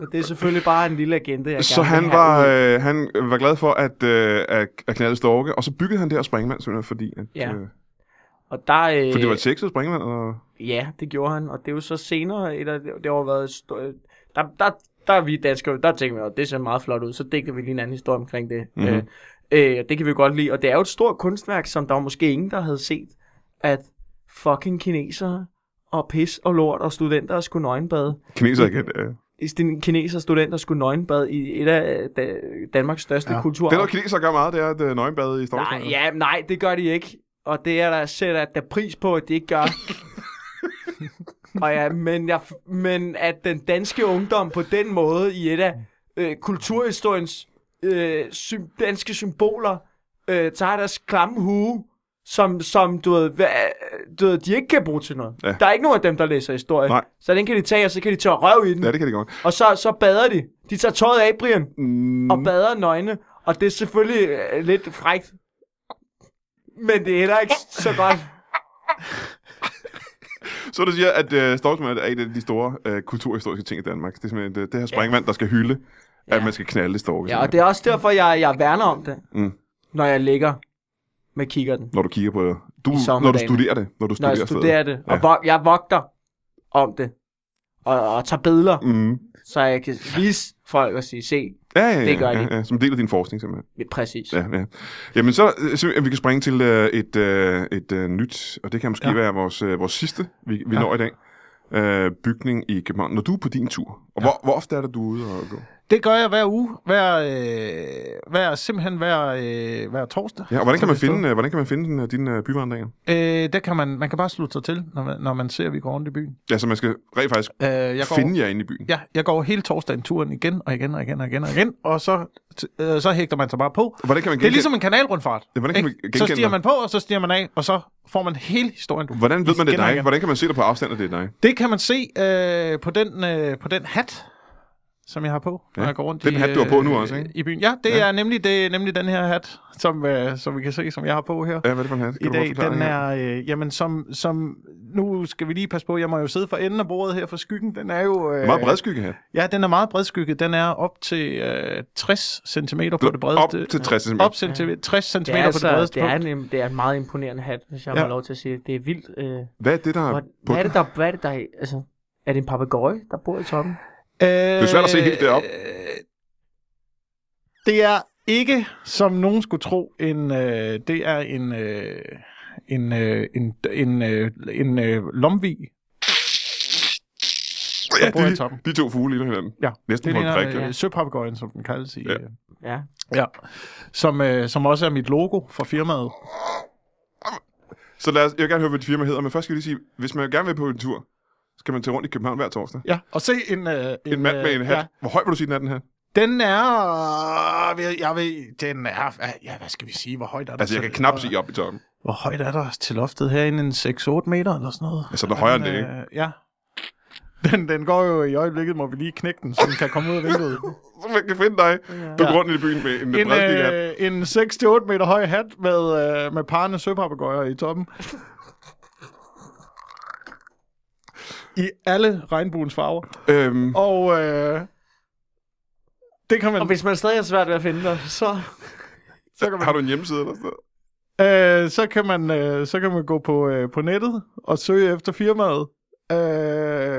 Men det er selvfølgelig bare en lille agenda, jeg Så gerne han vil have var, ud. øh, han var glad for at, øh, at, at knalde storke, og så byggede han det her springvand, simpelthen fordi, at, Ja. øh, Og der... Øh, for det var et sexet springvand, og Ja, det gjorde han, og det er jo så senere, eller det det har jo været... St- øh, der, der, der er vi danskere, der tænker vi, at det ser meget flot ud, så digter vi lige en anden historie omkring det. Mhm. Mm-hmm. Øh, øh, og det kan vi godt lide, og det er jo et stort kunstværk, som der var måske ingen, der havde set, at fucking kinesere og pis og lort og studenter skulle nøgenbade. kineser igen. Øh. I sten- Kinesere og studenter skulle nøgenbade i et af øh, da, Danmarks største ja. Ja. kulturer. Det, der kineser gør meget, det er at øh, nøgenbade i storke. Nej, ja, nej, det gør de ikke. Og det er der sætter der pris på, at de ikke gør. og ja, men, jeg, men at den danske ungdom på den måde i et af øh, kulturhistoriens øh, sy- danske symboler øh, tager deres klamme hue, som, som du, ved, hvad, du ved, de ikke kan bruge til noget. Ja. Der er ikke nogen af dem, der læser historie. Nej. Så den kan de tage, og så kan de tørre røv i den. Ja, det kan de godt. Og så, så bader de. De tager tøjet af, Brian Mm, og bader nøgne. Og det er selvfølgelig øh, lidt frækt. Men det er heller ikke så godt. så du siger, at øh, storkesmødet er et af de store øh, kulturhistoriske ting i Danmark. Det er simpelthen øh, det, det her springvand, der skal hylde, at Ja. man skal knalde storke. Ja, og det er også derfor, jeg, jeg værner om det, Mm. når jeg ligger med kikkerten. Når du kigger på det. Du, når du sommerdagen. studerer det. Når du Når studerer, jeg studerer stedet. det. Ja. Og vo- jeg vogter om det. Og, og tager billeder, Mm. så jeg kan vise folk og sige, se, Ja, ja, ja, Det gør ja, de. ja, som en del af din forskning, simpelthen. præcis. Ja. Ja, ja. Jamen så, øh, så vi kan springe til øh, et, øh, et øh, nyt, og det kan måske ja. Ja. være vores, øh, vores sidste, vi, vi ja. Ja. når i dag. Øh, bygning i København. Når du er på din tur, og hvor, hvor ofte er det, du er ude og gå? Det gør jeg hver uge. Hver, øh, hver simpelthen hver, øh, hver torsdag. Ja, og hvordan kan Så man det står- finde, øh, hvordan kan man finde den, øh, dine øh, byvandringer? Øh, der kan man, man kan bare slutte sig til, når man, når man ser, at vi går rundt i byen. Ja, så man skal rent faktisk Øh, jeg går, finde jer inde i byen. Ja, jeg går hele torsdagen turen igen og igen og igen og igen og igen, og så, t- øh, så hægter man sig bare på. Hvordan kan man Det er genkende, ligesom en kanalrundfart. Ja, hvordan kan ikke? man så genkende stiger dig? man på, og så stiger man af, og så får man hele historien. Du hvordan ved man, det er kender dig? ikke. Hvordan kan man se det på afstand, at det er dig? Det kan man se øh, på, den, øh, på den hat, som jeg har på, når Ja, jeg går rundt den i, øh, hat, du har på nu også, ikke? I byen. Ja, det Ja. ja. er nemlig det er nemlig den her hat, som, øh, som vi kan se, som jeg har på her. Ja, hvad er det for en hat? Kan I du prøve at dag, forklare den det her? er, øh, jamen som, som, nu skal vi lige passe på, jeg må jo sidde for enden af bordet her for skyggen, den er jo... Øh, Meget bredskygge hat. Ja, den er meget bredskygget, den er op til øh, 60 cm på det bredeste. Op til 60 cm. Op til 60 cm Det på er, det altså, bredeste. det, er punkt. en, det er en meget imponerende hat, hvis jeg ja. Ja. har lov til at sige det. Det er vildt. Øh, Hvad er det, der er hvad, på hvad, er den? det, der, hvad er det, der altså, er det en papegøje, der bor i toppen? det er svært at se helt deroppe. Det er øh, ikke, som nogen skulle tro, en, øh, det er en, øh, en, øh, en, en, øh, en øh, lomvi. Ja, Der bor jeg i de, toppen. de to fugle ligner hinanden. Ja, Næsten det på en prik. ligner ja. øh, søpapegøjen, som den kaldes i, Ja. ja. Ja. Ja, som, øh, som også er mit logo for firmaet. Så lad os, jeg vil gerne høre, hvad dit firma hedder, men først skal jeg lige sige, hvis man gerne vil på en tur, skal man tage rundt i København hver torsdag. Ja, og se en... Øh, En mand med øh, en ja. Altså, hat. Hvor høj vil du sige, den er, den her? Den er... øh, Jeg ved, den er... Ja, hvad skal vi sige? Hvor højt er der? Altså, jeg til- kan knap se op i toppen. Hvor højt er der til loftet herinde? En 6-8 meter eller sådan noget? Altså, den er højere end det, ikke? Øh, ja. Den, den går jo i øjeblikket, må vi lige knække den, så den kan komme ud af vinduet. Så man kan finde dig på Ja. grund i byen med en en, bredskygge hat. øh, en 6-8 meter høj hat med, øh, med parne søpapegøjer i toppen. I alle regnbuens farver. Øhm, Og øh, det kan man... Og hvis man stadig har svært ved at finde dig, så... har du en hjemmeside eller sådan noget? Øh, så, kan man, øh, så kan man gå på, øh, på nettet og søge efter firmaet. Øh,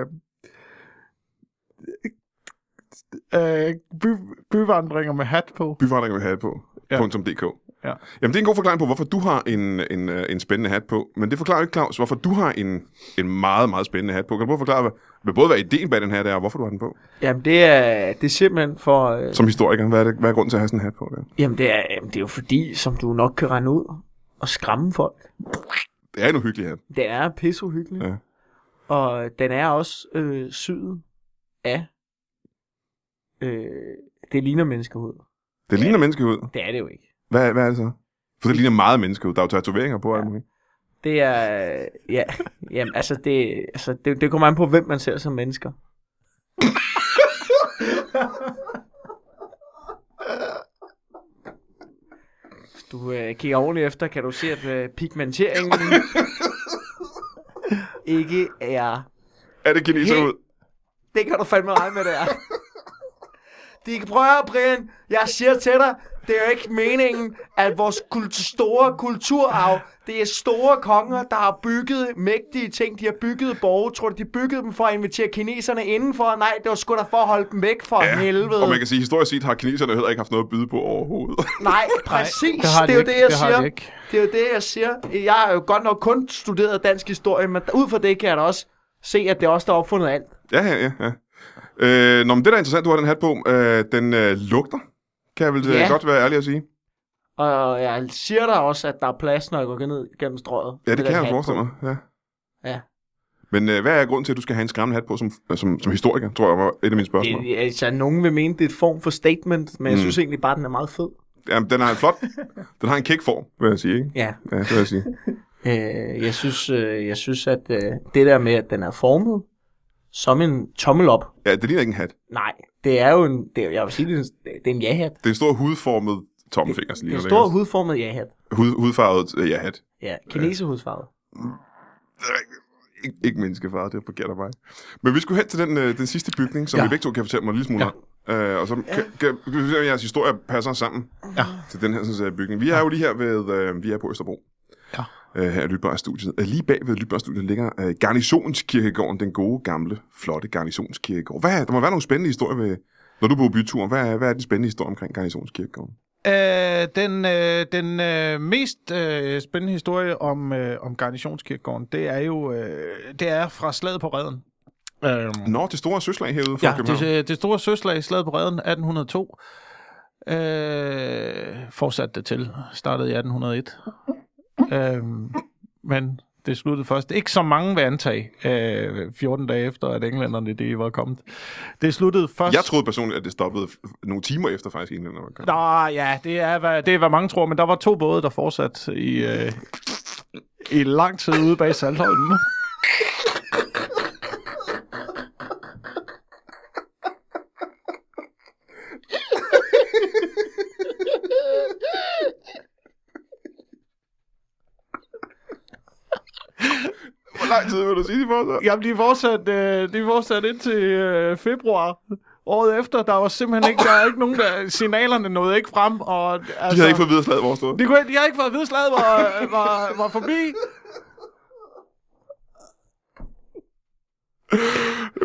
øh, by, byvandringer med hat på. Byforandringer vil have på. Ja. Ja. .dk. Ja. Jamen, det er en god forklaring på, hvorfor du har en, en, øh, en spændende hat på. Men det forklarer jo ikke, Claus, hvorfor du har en, en meget, meget spændende hat på. Kan du prøve at forklare, hvad, hvad både hvad ideen bag den hat er, og hvorfor du har den på? Jamen, det er, det er simpelthen for... Øh, Som historiker, hvad er, det, hvad er grunden til at have sådan en hat på? Der? jamen, det er, jamen, det er jo fordi, som du nok kan regne ud, og skræmme folk. Det er en uhyggelig hat. Den er pisseuhyggelig. Ja. Ja. Og den er også øh, syet af... Øh, det ligner menneskehud. Det ligner menneskehud. Det er det jo ikke. Hvad, hvad er det så? For det ligner meget menneskehud. Der er jo tatoveringer på. Ja. Det er... øh, Ja, jamen, altså, det, altså det, det kommer an på, hvem man ser som mennesker. Hvis du øh, kigger ordentligt efter, kan du se, at øh, pigmenteringen ikke er Er det kineser ud? Det kan du fandme regne med, det er. De kan prøve at høre, Brian. Jeg siger til dig, det er jo ikke meningen, at vores kult- store kulturarv, det er store konger, der har bygget mægtige ting. De har bygget borge. Tror du, de byggede dem for at invitere kineserne indenfor? Nej, det var sgu da for at holde dem væk for ja, helvede. Og man kan sige, historisk set har kineserne heller ikke haft noget at byde på overhovedet. Nej, præcis. det har det, de er jo ikke. det, jeg Det har de siger. ikke. det er jo det, jeg siger. Jeg har jo godt nok kun studeret dansk historie, men ud fra det kan jeg da også se, at det er også der har opfundet alt. ja, ja, ja. ja. Øh, nå, men det der er interessant, du har den hat på, øh, den øh, lugter. Kan jeg vel ja. Ja. godt være ærlig at sige. Og jeg siger dig også, at der er plads, når jeg går ned gennem strøget. Ja, det, kan Med den jeg hat forestille på. mig. Ja. Ja. Men øh, hvad er grunden til, at du skal have en skræmmende hat på som, som, som historiker, tror jeg var et af mine spørgsmål. Det, altså, nogen vil mene, det er et form for statement, men mm. jeg Mm. synes egentlig bare, den er meget fed. Jamen, den har en flot, den har en kækform, vil jeg sige, ikke? Ja. Ja, det vil jeg sige. Øh, jeg, synes, øh, jeg synes, at øh, det der med, at den er formet som en tommel op, Ja, det ligner ikke en hat. nej, det er jo en, det er, jeg vil sige, det er en, det er en ja-hat. Det er en stor hudformet tommelfinger, Det er ligner en stor hudformet ja-hat. Hud, hudfarvet øh, ja, hat. Ja, kinesehudsfarvet. Det er rigtigt. Ikke, ikke menneskefarvet, det er forkert af mig. Men vi skulle hen til den, øh, den sidste bygning, som ja. Ja. vi begge to kan fortælle mig en lille smule ja. om. Øh, og så kan, kan, kan vi se, om jeres historier passer sammen ja. til den her sådan, øh, bygning. Vi er jo lige her ved, øh, vi er på Østerbro. Ja. Øh, her i Lydbørstudiet. Øh, lige bag ved Lydbørstudiet ligger øh, Garnisonskirkegården, den gode, gamle, flotte Garnisonskirkegård. Hvad, er- der må være nogle spændende historier ved, når du er på byturen. Hvad, er- hvad er den spændende historie omkring Garnisonskirkegården? Øh, den øh, den øh, mest øh, spændende historie om, øh, om garnitionskirkegården, det er jo øh, det er fra slaget på redden. Øhm, Nå, det store søslag herude fra ja, København. det, det store søslag, slaget på redden 1802, øh, fortsatte det til, startede i 1801. Øhm, men det sluttede først. Ikke så mange vil antage, øh, 14 dage efter, at englænderne de var kommet. Det sluttede først... Jeg troede personligt, at det stoppede f- f- nogle timer efter faktisk England var kommet. Nå, ja, det er, hvad, det er, hvad mange tror, men der var to både, der fortsat i, øh, i lang tid ude bag Saltholmen. Hvor lang tid vil du sige det for så? Jamen, de fortsat, øh, de fortsat indtil øh, februar året efter. Der var simpelthen ikke, der er ikke nogen, der, signalerne nåede ikke frem. Og, altså, De havde ikke fået videre slaget, hvor stod. De, kunne, ikke- de havde ikke fået at vide, slaget var, var, var forbi.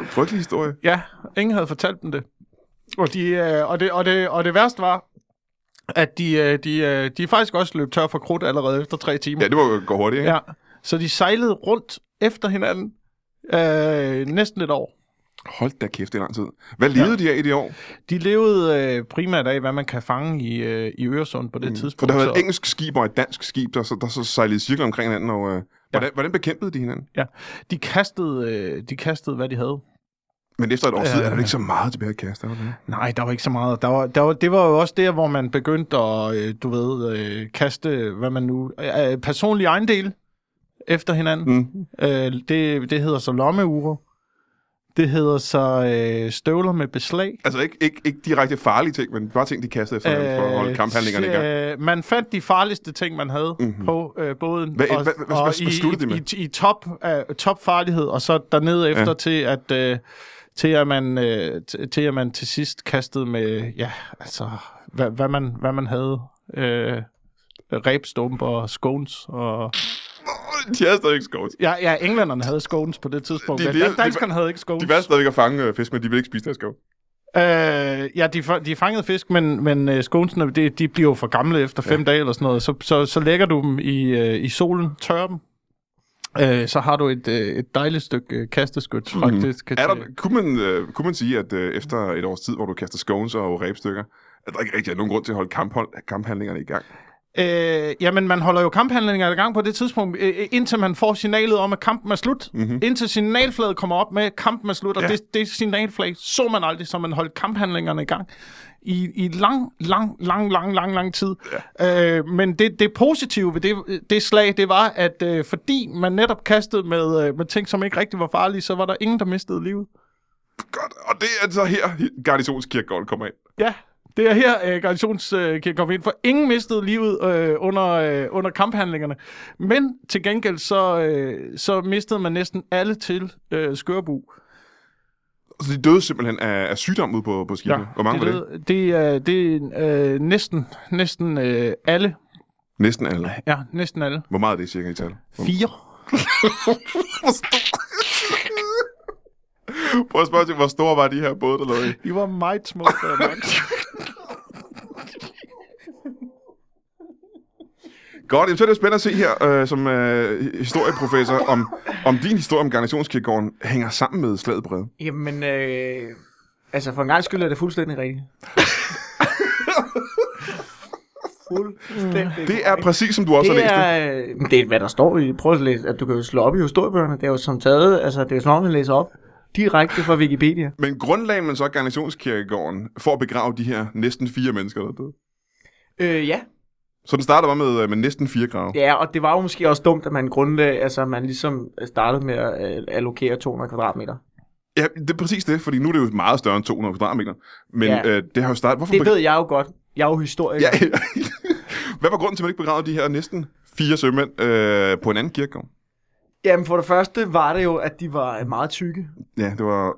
Frygtelig historie. Ja, ingen havde fortalt dem det. Og, de, øh, og, det, og, det, og det værste var, at de, øh, de, øh, de faktisk også løb tør for krudt allerede efter tre timer. Ja, det må jo gå hurtigt, ikke? Ja, så de sejlede rundt efter hinanden øh, næsten et år. Hold da kæft, det er lang tid. Hvad levede ja. de af i de år? De levede øh, primært af, hvad man kan fange i, øh, i Øresund på det mm. tidspunkt. For der har været så- et engelsk skib og et dansk skib, der, så- der så sejlede i cirkel omkring hinanden. Og, øh, hvordan, hvordan bekæmpede de hinanden? ja, de, kastede, øh, de kastede, hvad de havde. Men efter et års Ja. tid er der ikke så meget tilbage at kaste. er der det? Nej, der var ikke så meget. Der var, der var, det var jo også der, hvor man begyndte at, øh, du ved, øh, kaste, hvad man nu, øh, personlig ejendel efter hinanden. Mm. Øh, det, det hedder så lommeure. Det hedder så øh, støvler med beslag. Altså ikke, ikke, ikke direkte farlige ting, men bare ting, de kastede efter hinanden for at holde kamphandlingerne i gang. Øh, man fandt de farligste ting, man havde Mhm. mm-hmm. på øh, båden. Hvad- hvad- hvad- hvad i- besluttede de med? I, i, i top, øh, topfarlighed, og så dernede efter Ja. ja. til, at... Øh, til at, man, øh, t- til at man til sidst kastede med, ja, altså, hvad, hvad, man, hvad man havde øh, ræbstumper og scones. Og... De havde stadigvæk skovs. Ja, ja, englænderne havde scones på det tidspunkt. De- De, de- de- de, Danskerne havde ikke scones. De var stadigvæk at fange øh, fisk, men de ville ikke spise deres skov. Øh, ja, de, fa- de fangede fisk, men, men uh, skånsene, de, de bliver jo for gamle efter fem ja. dage eller sådan noget. Så, så, så lægger du dem i, øh, i solen, tørrer dem. Øh, så har du et, øh, et dejligt stykke øh, kasteskyt, mm. faktisk. Er der, kunne, man, øh, kunne man sige, at øh, efter et års tid, hvor du kaster scones og ræbstykker, at der ikke rigtig er nogen grund til at holde kamphold, kamphandlingerne i gang? Øh, jamen, man holder jo kamphandlinger i gang på det tidspunkt, øh, øh, indtil man får signalet om, at kampen er slut. Mm-hmm. Indtil signalflaget kommer op med, at kampen er slut, og Ja. ja. det, det signalflag så man aldrig, så man holdt kamphandlingerne i gang i, i lang, lang, lang, lang, lang, lang tid. Ja. Øh, men det, det positive ved det, det slag, det var, at øh, fordi man netop kastede med, øh, med ting, som ikke rigtig var farlige, så var der ingen, der mistede livet. Godt, og det er så her, garnisonskirkegården kommer ind. Ja, det er her, øh, garnitionskirken kom ind, for ingen mistede livet øh, under, øh, under kamphandlingerne. Men til gengæld, så, øh, så mistede man næsten alle til øh, Skørbu. Så de døde simpelthen af, af sygdom ude på, på skibet. Ja, Hvor mange det, var det? Det, det er, det er øh, næsten, næsten øh, alle. Næsten alle. Ja, næsten alle. Hvor meget er det cirka i tal? Hvor- Fire. Hvor stor... Prøv at spørge til, hvor store var de her både, der lå i? De var meget små. øh, Godt, jamen, så er det jo spændende at se her, øh, som øh, historieprofessor, om, om din historie om garnitionskirkegården hænger sammen med slaget brede. Jamen, øh, altså for en gang skyld er det fuldstændig rigtigt. fuldstændig Det er præcis, som du også har det læst det. er, øh, men det er, hvad der står i. Prøv at læse, at du kan jo slå op i historiebøgerne. Det er jo som taget, altså det er jo som om, man læser op direkte fra Wikipedia. Men grundlagde man så garnitionskirkegården for at begrave de her næsten fire mennesker, der er døde? Øh, ja. Så den starter bare med, øh, med næsten fire grave. Ja, og det var jo måske også dumt, at man grundlag, altså man ligesom startede med at øh, allokere 200 kvadratmeter. Ja, det er præcis det, fordi nu er det jo meget større end 200 kvadratmeter. Men Ja. øh, det har jo startet... Hvorfor Det begra- ved jeg jo godt. Jeg er jo historiker. Ja, ja. Hvad var grunden til, at man ikke begravede de her næsten fire sømænd øh, på en anden kirkegård? Jamen for det første var det jo, at de var øh, meget tykke. Ja, det var...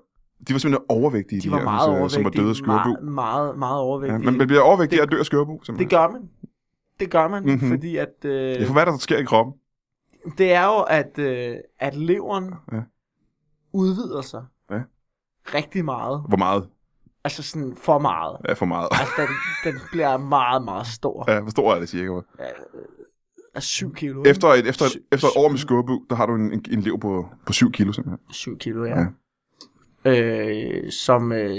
De var simpelthen overvægtige, De var her, meget som, øh, overvægtige. som var døde af skørbu. Meget, meget, meget Ja, overvægtige. man, man bliver overvægtig af at dø af skørbu, Det simpelthen. gør man. Det gør man, Mhm. mm-hmm. fordi at... Øh, Ja, for hvad er der sker i kroppen? Det er jo, at, øh, at leveren Ja. ja. udvider sig Ja. rigtig meget. Hvor meget Altså sådan for meget. er for meget? Altså, den, den bliver meget, meget stor. Ja, hvor stor er det cirka? Altså 7 kilo. ikke? Efter et, efter, et, efter et år med skørbu, der har du en, en, en lever på, på 7 kilo, simpelthen. 7 kilo, ja. ja. Øh, som øh,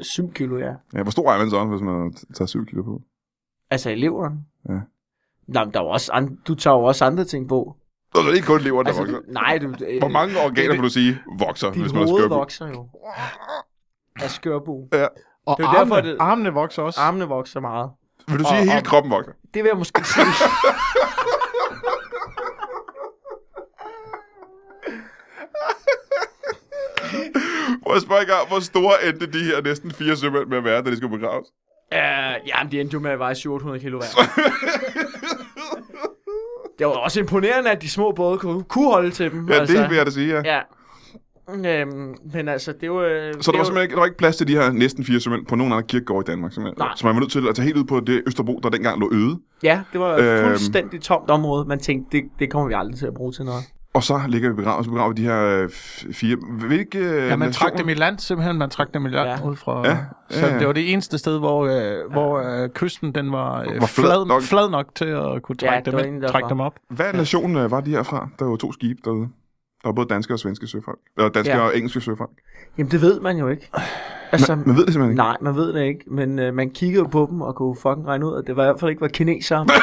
7 kilo, ja. Ja, hvor stor er man så, hvis man tager 7 kilo på? Altså i leveren. Ja. Nej, men der er jo også andre, du tager jo også andre ting på. Nå, så er det ikke kun lever, der altså, Altså, vokser. nej, du, øh, Hvor mange organer, det- vil du sige, vokser, din hvis man har hoved skørbu? vokser jo. Af skørbo. Og Det er jo derfor, armene, det- armene vokser også. Armene vokser meget. Vil du sige, at Og- hele kroppen vokser? Det vil jeg måske sige. Prøv at spørge en gang, hvor store endte de her næsten fire sømænd med at være, da de skulle begraves? Uh, jamen, de endte jo med at veje 700 kilo hver. det var også imponerende, at de små både kunne, kunne holde til dem. Ja, altså, det vil jeg da sige, ja. ja. Ja. Øhm, men altså, det var... Så der var simpelthen ikke, der var ikke plads til de her næsten fire sømænd på nogen anden kirkegård i Danmark, simpelthen. Nej. Så man var nødt til at tage helt ud på det Østerbro, der dengang lå øde. Ja, det var Øhm. et fuldstændig tomt område. Man tænkte, det, det kommer vi aldrig til at bruge til noget. Og så ligger vi begravet, så begraver vi de her øh, f- fire... Hvilke øh, Ja, man nationer? trak dem i land, simpelthen. Man trak dem i land Ja. ja. ud fra... Ja, Ja. ja, Så ja. det var det eneste sted, hvor, øh, hvor øh, kysten den var, øh, Var var flad flad, flad, nok. nok. flad nok til at kunne Ja, trække, det dem, var ind, egentlig trække derfor. dem op. Hvad nation øh, var de herfra? Der var to skibe derude. Der var både danske og svenske søfolk. Eller danske ja. Ja. og engelske søfolk. Jamen, det ved man jo ikke. Altså, Man ved det simpelthen ikke. nej, man ved det ikke. Men øh, man kiggede jo på dem og kunne fucking regne ud, at det var i hvert fald ikke var kinesere.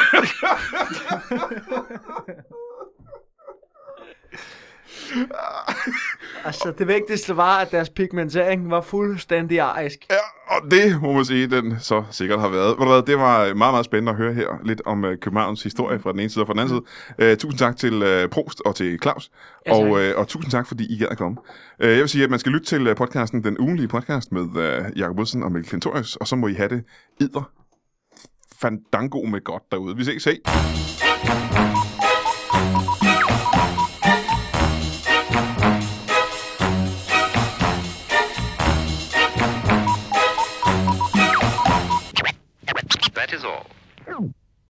altså, det vigtigste var, at deres pigmentering var fuldstændig arisk. Ja, og det må man sige, den så sikkert har været. Ved du hvad, det var øh, meget, meget spændende at høre her lidt om øh, Københavns historie fra den ene side og fra den anden side. Øh, tusind tak til øh, Prost og til Claus, Mm. Ja, tak. og, øh, og tusind tak, fordi I gad at komme. Øh, jeg vil sige, at man skal lytte til øh, podcasten, den ugenlige podcast med øh, Jacob Wilson og Mikkel Klintorius, og så må I have det idder fandango med godt derude. Vi ses, hej! That is all.